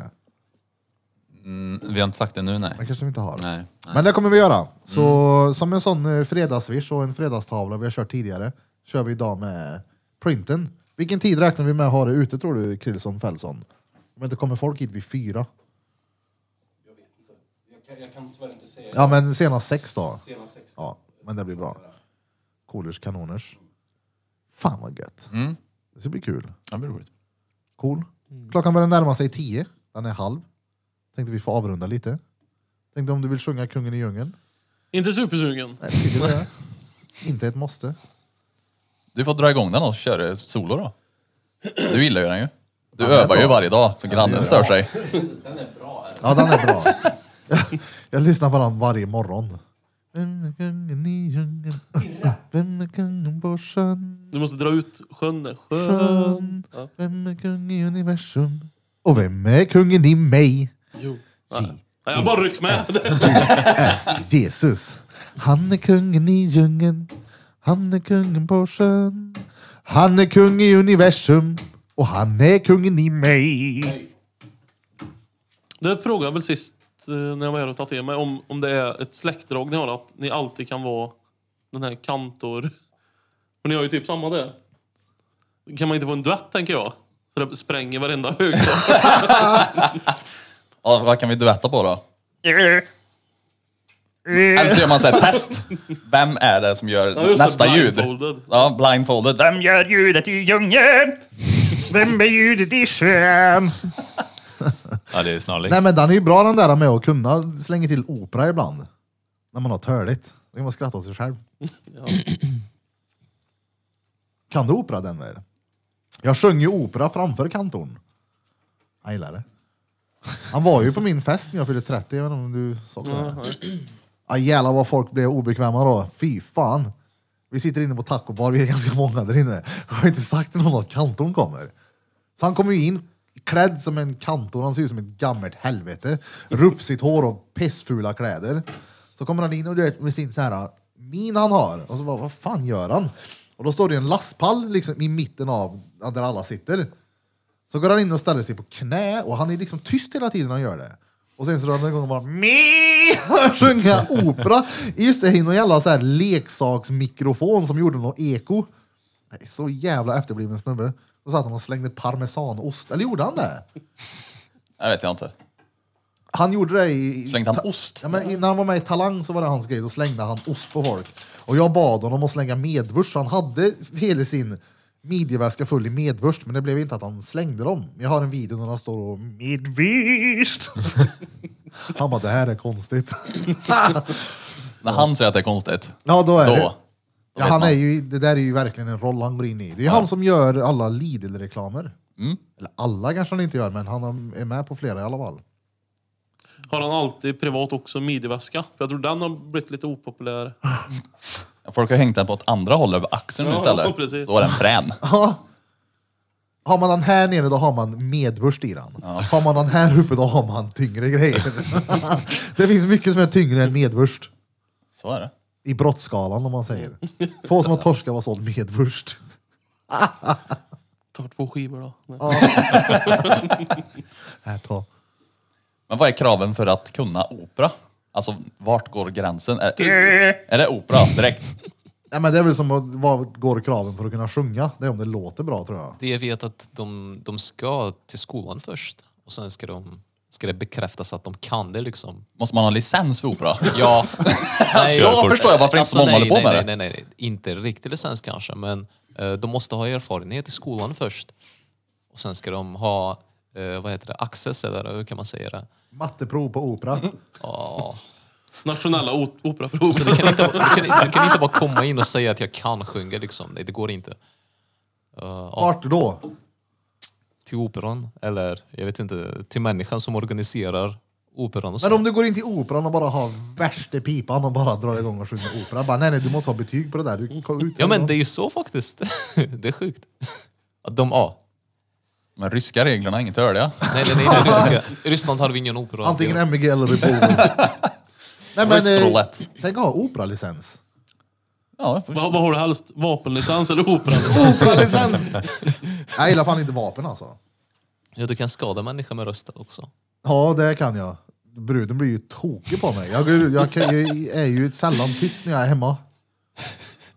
Mm, vi har inte sagt det nu, nej.
Det kanske vi inte har.
Nej.
Men det kommer vi göra. Så som en sån eh, fredagsvish och en fredagstavla vi har kört tidigare, kör vi idag med printen. Vilken tid räknar vi med att ha det ute tror du, Krillson Fällson? Om inte kommer folk hit vid fyra?
Jag, jag kan tyvärr inte säga
Ja men senast sex då.
senast sex.
Ja, men det blir bra. Coolers kanoners. Fan vad gött. Det ska bli kul.
Det blir roligt.
Cool. Klockan börjar närma sig tio. Den är halv. Tänkte vi får avrunda lite. Tänkte om du vill sjunga Kungen i djungeln?
Inte supersugen.
Nej, tycker du det? Inte ett måste.
Du får dra igång den och köra solo då. Du gillar ju den ju. Du
Ja, det är
övar ju
bra.
varje dag så grannen stör sig.
Ja, den är bra. Jag, jag lyssnar på den varje morgon. Vem är kungen i djungeln? Vem är kungen på sjön?
Du måste dra ut sjön där. Sjön.
Sjön. Vem är kung i universum? Och vem är kungen i mig?
Nej, jag bara rycks med.
S. Jesus. Han är kungen i djungeln. Han är kungen på sjön. Han är kung i universum. Och han är kungen i mig.
Det frågade jag väl sist eh, när jag var här och tatuerade mig om, om det är ett släktdrag ni har att ni alltid kan vara den här kantor. Men ni har ju typ samma där. Kan man inte få en duett tänker jag? Så det spränger varenda högtalare.
Ja, vad kan vi duetta på då? Eller så gör man så här test. Vem är det som gör
Ja, just det,
nästa ljud?
blindfolded.
Ja, blindfolded. Vem gör ljudet i djungeln?
Vem är ljudet i sjön?
Ja, det är snarlikt.
Nej men den är ju bra den där med att kunna slänga till opera ibland. När man har törligt. Då kan man skratta åt sig själv. Kan du opera den där? Jag sjöng ju opera framför kantorn. Han gillar det. Han var ju på min fest när jag fyllde 30, jag vet inte om du sa det. Ja jävlar vad folk blev obekväma då. Fy fan. Vi sitter inne på taco bar, vi är ganska många där inne. Jag har inte sagt till någon att kantorn kommer. Så han kommer ju in klädd som en kantor, han ser ut som ett gammalt helvete. Rufsigt hår och pissfula kläder. Så kommer han in och du vet, med sin så här ah, min han har. Och så bara, vad fan gör han? Och då står det en lastpall liksom i mitten av där alla sitter. Så går han in och ställer sig på knä och han är liksom tyst hela tiden han gör det. Och sen så drar han igång och bara "Mi!" och sjunga opera. Just det, i någon jävla så här leksaksmikrofon som gjorde något eko. Nej, Så jävla efterbliven snubbe. Så satt han och slängde parmesanost. Eller gjorde han det?
Jag vet jag inte.
Han gjorde det i...
Slängde han ost?
Ja, men när han var med i Talang så var det hans grej. Då slängde han ost på folk. Och jag bad honom att slänga medvurst. Så han hade hela sin midjeväska full i medvurst. Men det blev inte att han slängde dem. Jag har en video när han står och medvurst. han bara, det här är konstigt.
När han säger att det är konstigt,
ja, då är det.
då.
Ja,
vet
han
man.
är ju, det där är ju verkligen en roll han går in i. Det är ju han som gör alla Lidl-reklamer.
Mm.
Eller alla kanske han inte gör, men han har- är med på flera i alla fall.
Har han alltid privat också midjeväska? För jag tror den har blivit lite opopulär.
Folk har hängt den på åt andra hållet över axeln
Ja,
istället.
precis.
Då är den frän.
Ja. Har man den här nere då har man medvurst i den. Har man den här uppe då har man tyngre grejer. det finns mycket som är tyngre än medvurst.
Så är det.
I brottsskalan om man säger. Få som har torskat var såld medvurst.
Tar två skivor då. Nej.
Här ta.
Men vad är kraven för att kunna opera? Alltså, vart går gränsen? Är, är det opera direkt?
Nej, men det är väl som att, vad går kraven för att kunna sjunga? Det är om det låter bra tror jag.
Det jag vet att de, de ska till skolan först och sen ska, de, ska det bekräftas att de kan det liksom.
Måste man ha licens för opera?
Ja. nej,
Då förstår jag varför inte så många
nej,
håller på
nej,
med det.
nej, Nej, nej, nej. Inte riktig licens kanske, men eh, de måste ha erfarenhet i skolan först. Och sen ska de ha, eh, vad heter det, access eller hur kan man säga det?
Matteprov på opera.
Mm.
Ja.
Nationella o- operaprov.
Så du kan, inte, du, kan, du kan inte bara komma in och säga att jag kan sjunga liksom. Nej, det går inte. Eh, ja,
Vart då?
till operan eller jag vet inte, till människan som organiserar operan och så.
Men om du går in till operan och bara har värsta pipan och bara drar igång och sjunger opera. Bara, nej, nej, du måste ha betyg på det där. Du, kom ut
Ja men det är ju så faktiskt. det är sjukt. Att de, ja.
Men ryska reglerna är inget hörliga.
Nej, nej, nej, nej ryska. I Ryssland har vi ingen opera.
Antingen MG eller Repoven. Nej men,
Rysk
eh,
roulette.
tänk att ha operalicens.
Ja, först.
Vad, vad har du helst? Vapenlicens eller opera?
Operalicens! jag gillar fan inte vapen alltså.
Ja, du kan skada människor med rösten också.
Ja, det kan jag. Bruden blir ju tokig på mig. Jag, går- jag, kan- jag är ju sällan tyst när jag är hemma.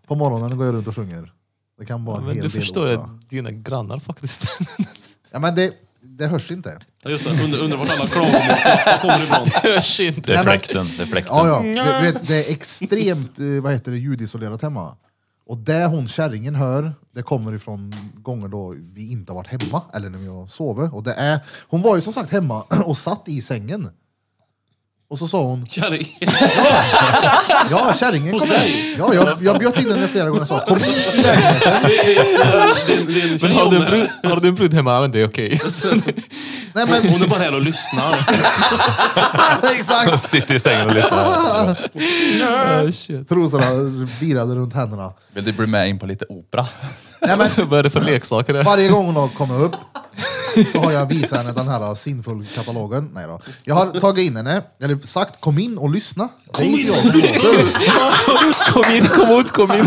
På morgonen går jag runt och sjunger. Det kan vara en
Men
hel
du
del
förstår
opera.
att dina grannar faktiskt.
Ja, men det, det hörs inte.
Ja, just det. Undrar, undrar vart alla klagomål kommer ifrån.
Hörs inte.
Det
Nej,
är
men-
fläkten. Det är fläkten.
Ja,
Mm,
ja. Du, du vet, det är extremt eh, vad heter det, ljudisolerat hemma. Och det hon kärringen hör, det kommer ifrån gånger då vi inte har varit hemma, eller när vi har sovit. Och det är, hon var ju som sagt hemma och satt i sängen. Och så sa hon,
Kärring.
ja kärringen kom in. Ja, jag, jag bjöd in henne flera gånger och sa, kom in i lägenheten.
Din, din
Men
tjej,
har
hon,
du, en
är,
brud, har du en brud hemma? Ja, men det är okej.
Nej men
hon är bara här och lyssnar.
exakt!
Sitter i sängen och lyssnar.
Ah, shit.
Trosorna virade runt händerna.
Vill du bli med in på lite opera?
Nej, men
Vad är det för leksaker det?
Varje gång hon har kommit upp så har jag visat henne den här sinnfull-katalogen. Nej då. Jag har tagit in henne, eller sagt kom in och lyssna. Kom in,
Kom in, kom ut, kom in.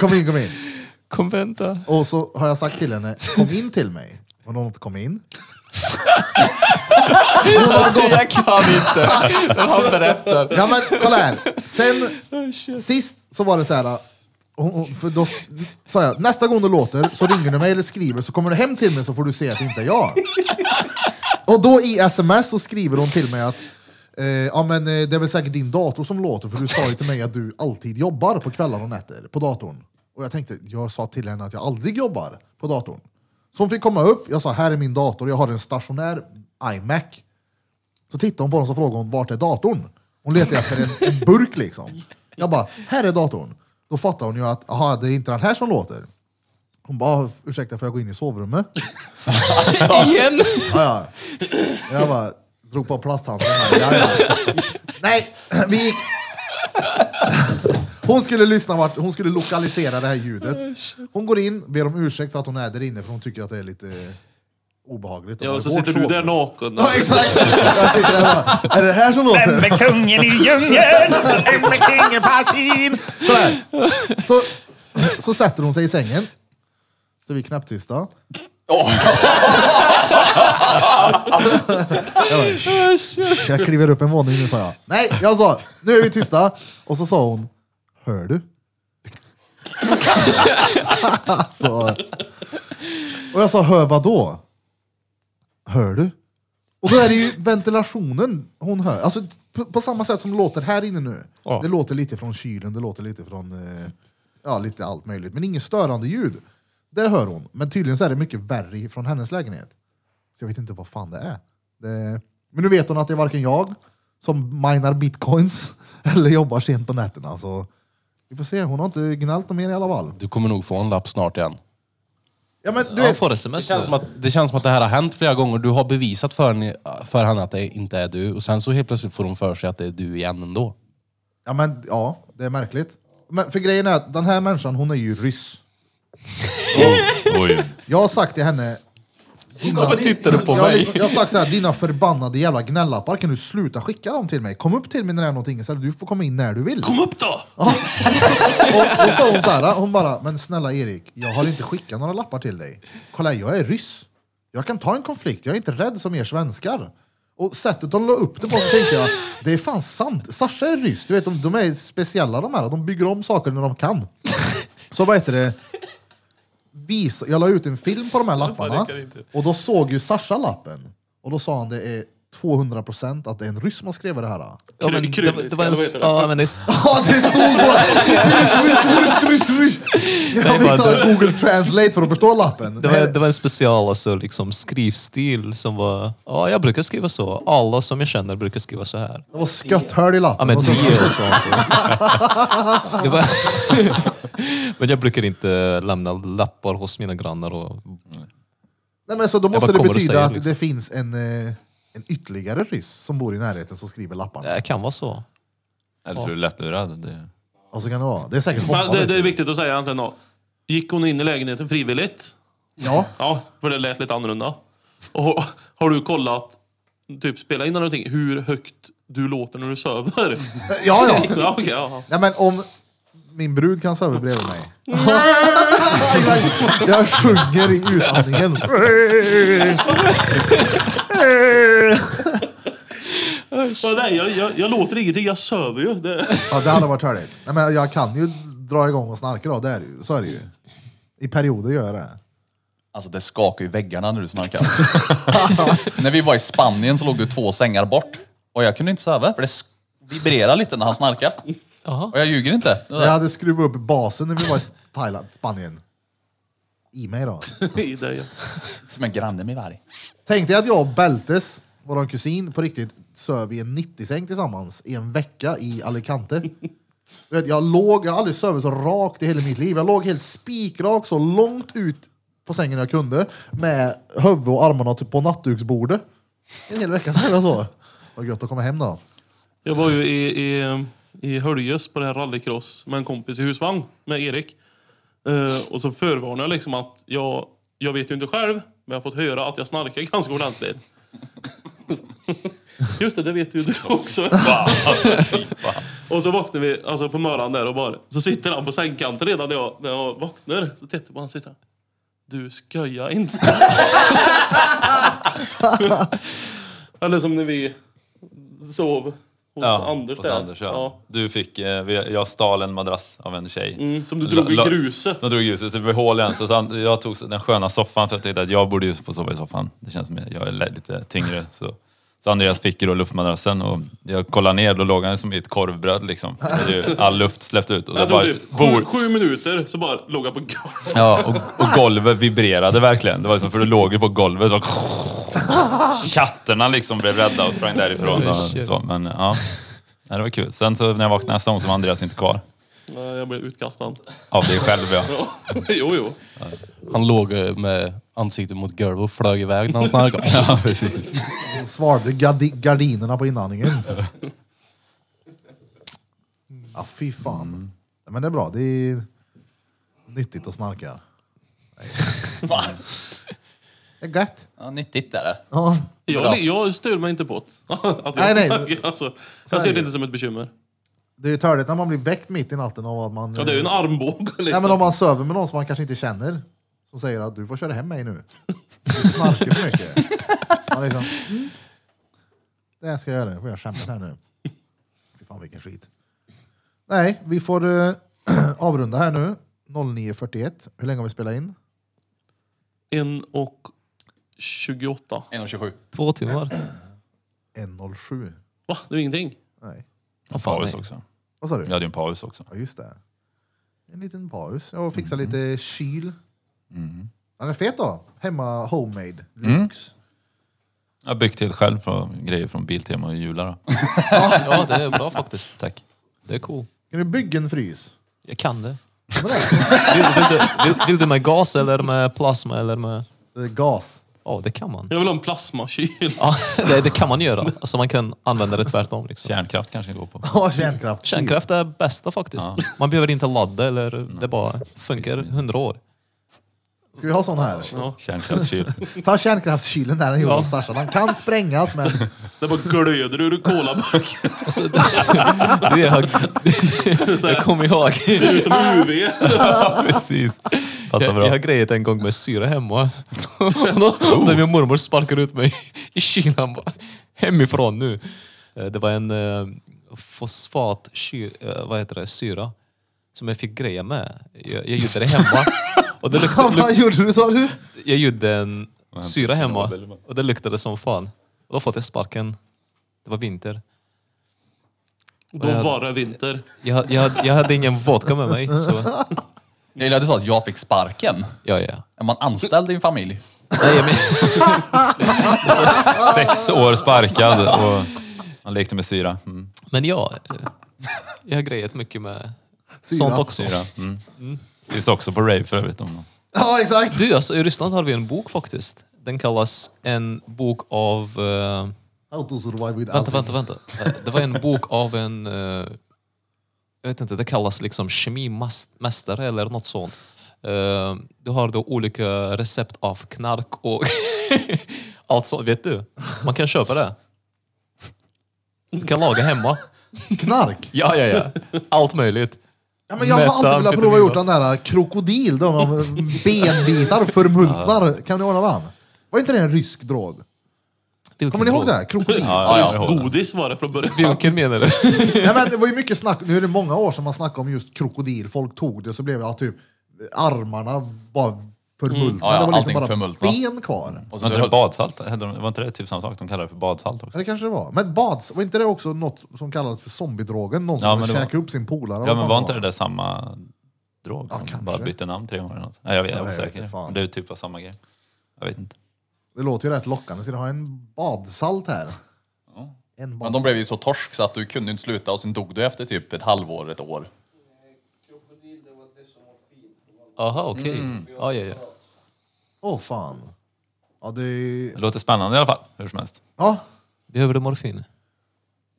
kom in, kom in.
Kom vänta.
Och så har jag sagt till henne, kom in till mig. Och hon har inte kommit in.
Jag kan inte. När han berättar.
Ja men kolla här.
Oh,
Sen sist så var det så här. hon- hon- För då s- sa jag, nästa gång du låter så ringer du mig eller skriver så kommer du hem till mig så får du se att det inte är jag. Och då i sms så skriver hon till mig att eh, ja, men, eh, det är väl säkert din dator som låter för du sa ju till mig att du alltid jobbar på kvällar och nätter på datorn. Och jag tänkte, jag sa till henne att jag aldrig jobbar på datorn. Så hon fick komma upp, jag sa här är min dator, jag har en stationär iMac. Så tittade hon på den och frågade hon, vart är datorn? Hon letade efter en, en burk liksom. Jag bara, här är datorn. Då fattar hon ju att, aha, det är inte den här som låter. Hon bara, ursäkta får jag gå in i sovrummet?
Igen?
Ja, ja. Jag bara, drog på plasthandsken här. Ja, ja. Nej, vi gick... Hon skulle lyssna vart, hon skulle lokalisera det här ljudet. Hon går in, ber om ursäkt för att hon är där inne för hon tycker att det är lite obehagligt. att
Ja,
vara i
och så
vårt
sitter du där
sovrum.
naken.
Ja, exakt! Jag sitter där och bara, är det här som låter? Vem är kungen i djungeln? Vem är kungen på Så, så sätter hon sig i sängen. Så vi är knäpptysta. jag, bara, "Shh, jag kliver upp en våning nu, sa jag. Nej, jag sa, nu är vi tysta. Och så sa hon, hör du? alltså, och jag sa, hör vad då? Hör du? Och då är det ju ventilationen hon hör. Alltså på, på samma sätt som det låter här inne nu. Det låter lite från kylen, det låter lite från eh, ja, lite allt möjligt. Men inget störande ljud. Det hör hon. Men tydligen så är det mycket värre från hennes lägenhet. Så jag vet inte vad fan det är. Det, men nu vet hon att det är varken jag som minar bitcoins eller jobbar sent på nätterna. Så vi får se, hon har inte gnällt något mer i alla fall.
Du kommer nog få en lapp snart igen.
Ja, men, du
Han
vet,
får
Det
sms
känns, som
nu.
att, det känns som att det här har hänt flera gånger. Du har bevisat för, ni- för henne att det inte är du och sen så helt plötsligt får hon för sig att det är du igen ändå.
Ja, men ja, det är märkligt. Men för grejen är att den här människan, hon är ju ryss.
Oj.
Jag har sagt till henne... Dina,
Varför tittar du på
jag, har
mig?
liksom, jag har sagt såhär, dina förbannade jävla gnällappar, kan du sluta skicka dem till mig? Kom upp till mig när det är någonting, så här, du får komma in när du vill.
Kom upp då!
Och, och så hon såhär, hon bara, men snälla Erik, jag har inte skickat några lappar till dig. Kolla, jag är ryss. Jag kan ta en konflikt, jag är inte rädd som er svenskar. Och sättet de la upp det på så tänkte jag, det är fan sant. Sasha är ryss, du vet de, de är speciella de här, de bygger om saker när de kan. Så vad heter det? Visa, jag la ut en film på de här lapparna och då såg ju Sasha lappen. Och då sa han det är 200% att det är en ryss som har skrivit det här.
Ja, men
Krydd-
det, det var en...
eller vad heter det?
Ja, men det är
Ja, det stod bara... Rysch, rysch, rysch, rysch. Jag
Nej,
fick
bara-
ta Google Translate för att förstå lappen.
Det
Nej,
var, det var en special alltså, liksom, skrivstil som var... Ja, jag brukar skriva så. Alla som jag känner brukar skriva så här.
det var skotthörd i
Ja,
lappen.
men
Och
det
så-
är sånt. Det var, men jag brukar inte lämna lappar hos mina grannar. Och,
Nej, men så då måste
bara
det
kommer och
betyda
säger,
att
liksom.
det finns en, eh, en ytterligare ryss som bor i närheten som skriver lapparna.
det kan vara så.
Eller så är du lättlurad. Det...
Och så kan det vara. Det är säkert
Men
hoppa,
det, det är
vet du.
viktigt att säga egentligen då. Gick hon in i lägenheten frivilligt?
Ja,
Ja, för det lät lite annorlunda. Och har- har du kollat, typ spela in någonting, hur högt du låter när du sover?
ja, ja.
ja, okej, ja.
Nej, men om min brud kan sova bredvid mig. jag, jag sjunger i utandningen.
ja nej, jag, jag, jag låter ingenting, jag sover ju. Det,
Ja, det hade varit härligt. Nej, men jag kan ju dra igång och snarka då, det är, det ju. så är det ju. I perioder gör jag det.
Alltså det skakar ju väggarna när du snarkar. när vi var i Spanien så låg du två sängar bort. Och jag kunde inte sova för det sk- vibrerade lite när han snarkade.
Jaha.
Och jag ljuger inte. Det
Jag
där.
hade skruvat upp basen när vi var i Thailand, Spanien. I mig då.
i det ja.
Som en granne med varg.
Tänk dig att jag och Beltes, vår kusin, på riktigt söv i en 90-säng tillsammans i en vecka i Alicante. Du vet, jag låg, jag har aldrig sovit så rakt i hela mitt liv. Jag låg helt spikrak så långt ut på sängen jag kunde med huvudet och armarna typ på nattduksbordet. En hel vecka sov jag så. Vad gött att komma hem då.
Jag var ju i, i, i Höljes på det här rallycross med en kompis i husvagn med Erik. Eh, och så förvarnar jag liksom att jag, jag vet ju inte själv, men jag har fått höra att jag snarkar ganska ordentligt. Just det, det vet ju du också.
Alltså,
och så vaknar vi alltså, på morgonen där och bara, så sitter han på sängkanten redan när jag, när jag vaknar. Så tittar jag på honom och sitter han. Du skojar inte. Eller som när vi sov hos Anders
hos
där.
Anders, ja. Du fick, eh, vi- jag stal en madrass av en tjej.
Mm, som du drog i
La- la-
gruset.
De drog ljuset, så det blev hål i den. Så han, jag tog den sköna soffan för jag tänkte att jag borde ju få sova i soffan. Det känns som att jag är lite tyngre. Så, så Andreas fick ju då luftmadrassen och jag kollade ner, då låg han som i ett korvbröd liksom. Det är ju All luft släppte ut. Och så
Jag tror
bara,
typ sju,
bor,
sju minuter så bara låg jag på golvet.
ja, och, och golvet vibrerade verkligen. Det var liksom, för du låg ju på golvet så... Katterna liksom blev rädda och sprang därifrån. Och så, men ja. Nej, det var kul. Sen så när jag vaknade nästa gång så var Andreas inte kvar.
Nej, Jag blev utkastad.
Av dig själv ja.
Ja. jo, jo.
Han låg eh, med ansiktet mot golvet och flög iväg när han snarkade.
Så svarade gardi- gardinerna på inandningen. Ja, fy fan. Men det är bra. Det är nyttigt att snarka. Nej. Det är gött.
Ja, nyttigt är det.
Ja.
Jag, jag styr mig inte på det. att
Nej,
jag,
nej.
snackar, Alltså,
Så är
jag ser
det.
det inte som ett bekymmer.
Det är ju törligt när man blir väckt mitt i natten av att man...
Ja, det är ju en armbåge. Liksom.
Nej men om man söver med någon som man kanske inte känner. Som säger att du får köra hem mig nu. Du snarkar för mycket. Man liksom, mm. Det här ska jag göra, nu får jag skämmas här nu. Fy fan vilken skit. Nej, vi får eh, avrunda här nu. 09.41. Hur länge har vi spelat in?
En och 28.
1,27.
Två timmar.
1.07.
Va? Det är ingenting.
Nej.
Vad fan
Paus
nej.
också.
Vad sa du?
Jag hade ju en paus också.
Ja, just det. En liten paus. Jag fixar lite kyl. Den är fet då. Hemma homemade. Lyx.
Jag har byggt helt själv från, grejer från Biltema och Jula då.
Ja, det är bra faktiskt.
Tack.
Det är cool.
Kan du bygga en frys?
Jag kan det. Vill, vill, du, vill, vill du med gas eller med plasma eller med...
Det är gas.
Ja, det kan man.
Jag vill ha en plasmakyl.
Ja, det, det kan man göra. Alltså man kan använda det tvärtom. Liksom.
Kärnkraft kanske går på.
Ja, kärnkraft.
Kärnkraft är bästa faktiskt. Man behöver inte ladda eller det bara funkar hundra år.
Ska vi ha sån här?
Kärnkraftskyl.
Ta kärnkraftskylen där den Jonas Sarsan. Den kan sprängas men
Det bara glöder ur kolaburken.
Och så, du, jag, jag kommer ihåg,
Det ser ut som UV.
Precis. Passar
jag,
bra. Oh.
jag har grejat en gång med syra hemma. Och då- När min mormor sparkade ut mig i Kina. Bara, hemifrån nu. Eh, Det var en eh, fosfat, eh, vad heter det, syra som jag fick greja med. Jag, jag gjorde det hemma. Och det luktade,
vad gjorde du sa du?
jag gjorde en syra hemma och det luktade som fan. Och då fått jag sparken. Det var vinter.
Då var det vinter.
Jag, jag, jag hade ingen vodka med mig. Så,
Jag gillar att du sa att jag fick sparken.
ja, ja.
Är man anställd i en familj?
Nej, jag, men,
Sex år sparkad och han lekte med syra. Mm.
men ja, eh, jag har grejat mycket med
Syra.
sånt också.
Syra. Mm. Finns också på rave för övrigt. Om någon.
Ja exakt!
Du, alltså, i Ryssland har vi en bok faktiskt. Den kallas En bok av... eh,
How to survive with
vänta,
acid.
vänta, vänta. Eh, Det var en bok av en... eh, jag vet inte, det kallas liksom kemimästare eller något sånt. Eh, du har då olika recept av knark och allt sånt. Vet du? Man kan köpa det. Du kan laga hemma.
Knark!
Ja, ja, ja. Allt möjligt.
Ja, men jag har alltid velat prova att gjort den där äh, krokodil, de med benbitar förmultnar. Kan du ordna den? Var inte det en rysk drog?
Vilken
Kommer ni ihåg
drog?
det? Krokodil.
Ja, ja, jag ihåg det.
Godis var det från början.
Vilken menar du?
Nej, men det var ju mycket snack, nu är det många år sedan man snackade om just krokodil. Folk tog det så blev ja, typ armarna bara förmultnade.
Ja, ja,
det var
allting
liksom bara
förmultnat.
ben kvar.
Och så
Var inte det
höll-
badsalt? Hade de- Var inte det typ samma sak? De kallade det för badsalt
Ja,
också.
det kanske det var. Men bads, var inte det också något som kallades för zombiedrogen? Någon som
Ja,
ja,
men det
käka upp sin polare?
Ja
Vad
men
fan
var inte det där samma drog som
kanske.
bara bytte namn tre gånger eller något? Nej, jag vet, jag
Ja,
är
jag vet
osäker.
inte fan.
Det är ju typ av samma grej. Jag vet inte.
Det låter ju rätt lockande, så jag har en badsalt här. En
Men
badsalt.
de blev ju så torsk så att du kunde inte sluta och sen dog du efter typ ett halvår, ett år.
Aha, okej.
Mm.
Ja, ja, ja.
Åh fan. Ja, det är...
Det låter spännande i alla fall. Hur som helst.
Ja.
Behöver du morfin?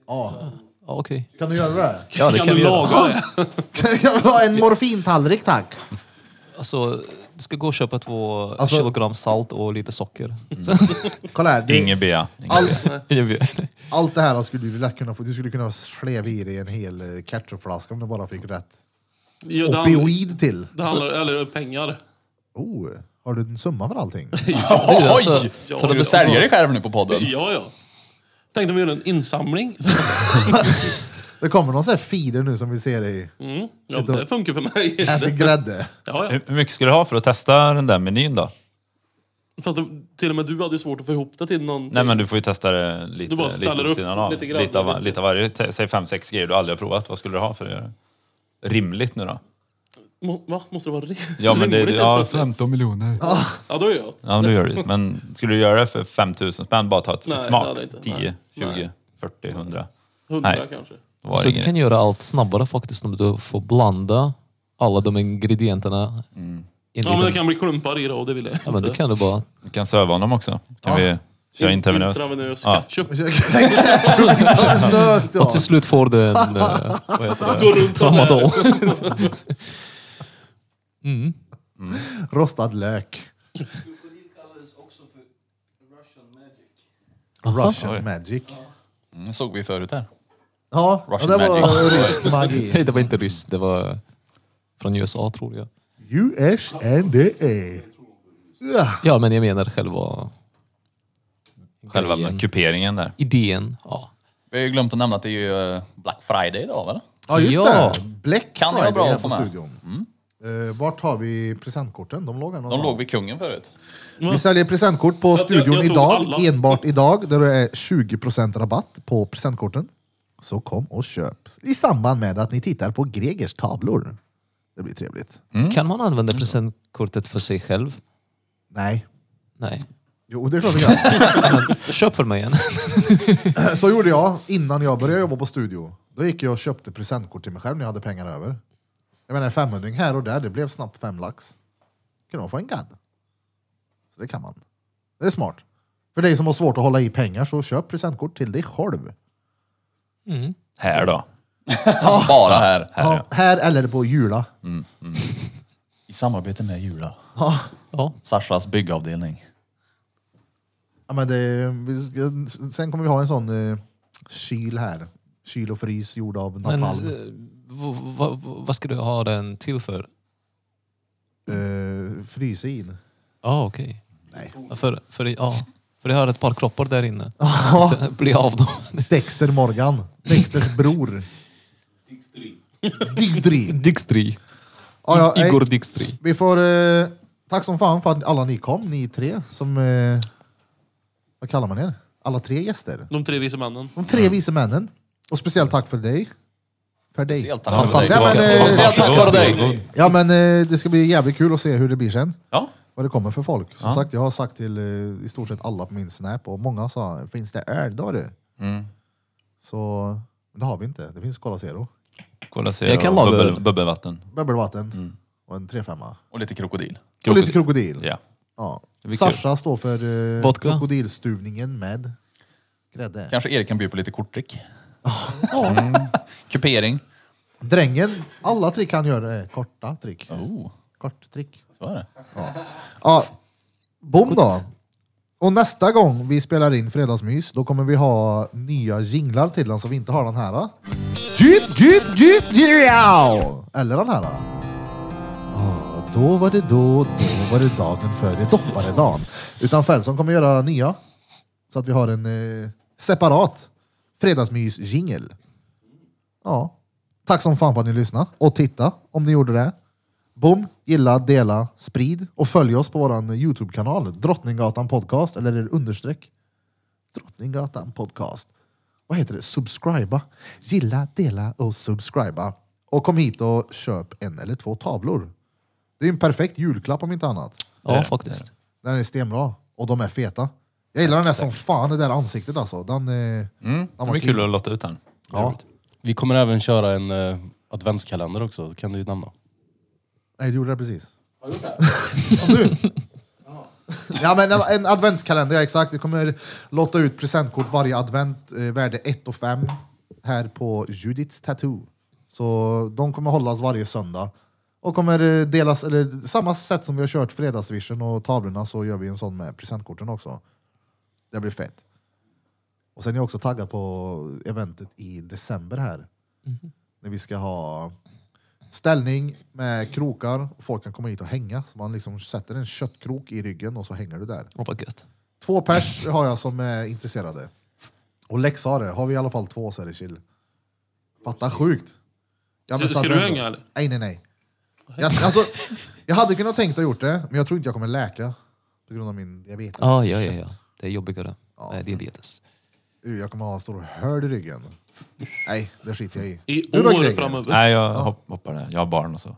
ja.
Ja, okej.
Kan du göra det?
Ja, det
Kan du
vi göra.
laga det?
Kan jag ha en morfintallrik tack?
Alltså, du ska gå och köpa två
Alltså-
kilogram salt och lite socker.
Mm.
Kolla här, det,
Ingen bea. Ingen
all,
bea.
Jag vet.
allt det här skulle du lätt kunna få. Du skulle kunna sleva i dig en hel eh, ketchupflaska om du bara fick rätt
Jo, det, handlar,
opioid till.
det handlar, eller pengar.
Oh, har du en summa för allting?
Oj! Alltså,
Ja.
för
Ska
att
du
beställa
sälja dig själv nu på podden?
Ja, ja. Tänkte om vi gör en insamling. Så,
Det kommer någon sån här feeder nu som vill se dig
mm, ja, det funkar för mig.
äta grädde.
Ja, ja.
Hur hur mycket skulle du ha för att testa den där menyn då?
Fast det, till och med du hade ju svårt att få ihop det till någon.
Nej men du får ju testa det lite,
Du bara
lite
ställer
vid
upp
sidan av.
lite grann.
Lite av, lite av varje. T- Säg fem, sex grejer du aldrig har provat. Vad skulle du ha för att göra det? Rimligt nu då?
Må, va? Måste det vara rimligt?
Ja men det,
rimligt typ
ja,
helt plötsligt?
miljoner.
ja, då är jag.
Ja nu gör du det. Men skulle du göra det för 5 000 spänn? Bara ta ett,
Nej,
ett
det
smak.
hade jag inte.
10,
Nej.
20, 40, 100.
Hundra
Nej.
kanske.
Det var
Så du
ingen-
kan göra allt snabbare faktiskt om du får blanda alla de ingredienserna. i en
Mm. Ja, men det
liten-
kan bli klumpar i det och det vill jag Alltså, inte.
ja, men det kan du bara.
Vi kan söva honom också. Kan vi köra intravenöst?
Intravenös
Ja.
ketchup.
Nöt,
Och
ja.
till slut får du en... eh, vad heter
Gå
det?
runt så här.
Tramadol.
Rostad lök.
Krokodil kallades också för Russian magic.
Russian magic.
Mm, såg vi förut här.
Ja, ja,
Russian
det var
magic.
rysk magi.
Nej, det var inte ryss. Det var från USA tror jag.
US and the E. Ja.
Ja, men jag menar själva
Själva
grejen.
kuperingen där.
idén. Ja.
Vi har ju glömt att nämna att det är ju eh, Black Friday idag väl?
ja, just
Ja.
det. Black
Kan det
Friday
vara bra
här
att
på
få med? Mm.
studion. Eh, vart har vi presentkorten? De låg här
De
någonstans.
låg vid kungen förut.
Vi säljer presentkort på
jag-
studion
jag tog
idag,
alla.
enbart idag, där det är 20% rabatt på presentkorten. Så kom och köp i samband med att ni tittar på Gregers tavlor. Det blir trevligt.
Mm.
Kan man använda presentkortet för sig själv?
Nej.
Nej.
Jo, det är klart jag kan.
Köp för mig en.
Så gjorde jag innan jag började jobba på studio. Då gick jag och köpte presentkort till mig själv när jag hade pengar över. Jag menar, en 500 här och där, det blev snabbt fem lax. Kunde man få en gadd? Så det kan man. Det är smart. För dig som har svårt att hålla i pengar, så köp presentkort till dig själv.
Här då.
Bara här.
Här, ja, här eller på Jula.
I samarbete med Jula.
Ja.
Sashas byggavdelning.
Ja, men det, vi ska, sen kommer vi ha en sån eh, kyl här. Kyl och frys gjord av
Men
napalm.
eh, v- v- v- vad ska du ha den till för?
eh, frysa in.
Ja, okej.
Nej.
Ja, För, för, ja. för jag har ett par kroppar där inne. Det blir av dem.
Dexter Morgan. Dexters bror. Digstri.
Dijkstri.
Ja, ja, hej.
Igor Dijkstri.
Vi får... Eh, tack som fan för att alla ni kom, ni tre som... Eh, vad kallar man er? Alla tre gäster.
De tre vise männen.
De tre vice männen. Och speciellt tack för dig. För dig.
Speciellt tack för dig.
Fantastiskt. Nej, men, eh,
Speciellt tack för dig.
Ja men eh, det ska bli jävligt kul att se hur det blir sen.
Ja.
Vad det kommer för folk. Som sagt, jag har sagt till eh, i stort sett alla på min snap och många sa finns det öl då du?
Mm.
Så men det har vi inte. Det finns Cola Zero,
Kolla se.
Jag kan
och
laga
bubbel,
öl.
bubbelvatten.
bubbelvatten och en 3-5.
Och lite krokodil.
Och lite krokodil.
Mm. Ja.
Ja.
blir kul.
Sasha står för eh,
Vodka.
krokodilstuvningen med grädde.
Kanske Erik kan bjuda på lite kortdryck. Mm. Kupering.
Drängen, alla trick han gör är korta trick.
Oh,
Kort trick.
så är det.
Ja, bom då. Och nästa gång vi spelar in Fredagsmys, då kommer vi ha nya jinglar till den så vi inte har den här. Djup, djup, djup, djup! Eller den här. Ja, då var det då, då var det dagen före dopparedagen. Utan Fältson kommer göra nya. Så att vi har en eh, separat fredagsmys-jingel. Ja. Tack som fan för att ni lyssnade och titta om ni gjorde det. Bom, gilla, dela, sprid och följ oss på vår Youtube-kanal Drottninggatan podcast, eller är det understreck? Drottninggatan podcast. Vad heter det? Subscriba. Gilla, dela och subscriba. Och kom hit och köp en eller två tavlor. Det är ju en perfekt julklapp om inte annat.
Ja, faktiskt.
Den är stenbra och de är feta. Jag gillar den där som fan, det där ansiktet alltså. Den, eh, den
Det blir kul att låta ut den.
Ja.
Vi kommer även köra en eh, adventskalender också, det kan du ju nämna.
Nej, du gjorde det precis. Har du gjort det? du? Ja men en, en adventskalender, ja exakt. Vi kommer låta ut presentkort varje advent, eh, värde 1 och 5 här på Judiths Tattoo. Så de kommer hållas varje söndag. Och kommer eh, delas, eller samma sätt som vi har kört fredagsvischen och tavlorna så gör vi en sån med presentkorten också. Det blir fett. Och sen är jag också taggad på eventet i december här. När vi ska ha ställning med krokar. och Folk kan komma hit och hänga. Så man liksom sätter en köttkrok i ryggen och så hänger du där.
Åh, vad gött.
Två pers har jag som är intresserade. Och Lex har det. Har vi i alla fall två så är det chill. Fatta sjukt. Ja,
Ska-
så att
ska du
ändå-
hänga, eller?
Nej, nej, nej. Jag, alltså, jag hade kunnat tänkt att gjort det, men jag tror inte jag kommer läka. På grund av min diabetes.
Ah, ja, ja, ja. Det är jobbigare. Nej, diabetes.
Uh, Jag kommer ha en stor hörd i ryggen. Nej, det skiter jag i.
I
Du då,
år
Greger?
framöver.
Nej, jag hopp- hoppar det. Jag har barn och så.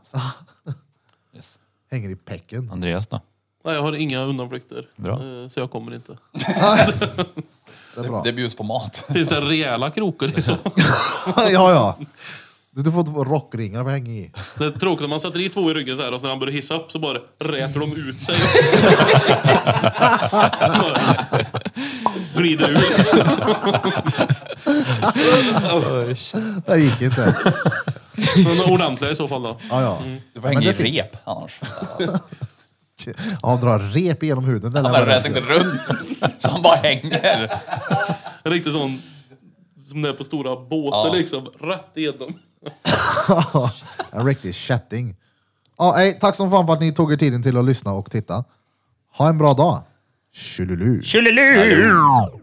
Yes.
Hänger i pecken.
Andreas då?
Nej, jag har inga undanflykter.
Bra.
Eh, Så jag kommer inte.
Det är bra.
Det bjuds på mat.
Finns det rejäla krokar i så?
ja, ja. Du, du får två rockringar att hänga i.
Det är tråkigt när man sätter i två i ryggen så här och sen när han börjar hissa upp så bara räter de ut sig. Bara Glider ut.
Det gick inte. Mm.
Men ordentliga i så fall då.
Ja, ja.
Du får
Ja, men
hänga i
det finns.
rep annars.
Ja, dra rep genom huden. Det lär
Han
vara
bara rät
rätt.
inte runt. Så han bara hänger.
En riktig sån som det är på stora båtar
Ja.
liksom. Rätt igenom.
En riktig chatting. Ja, ey, tack som fan för att ni tog er tiden till att lyssna och titta. Ha en bra dag. Tjolilu.
Tjolilu!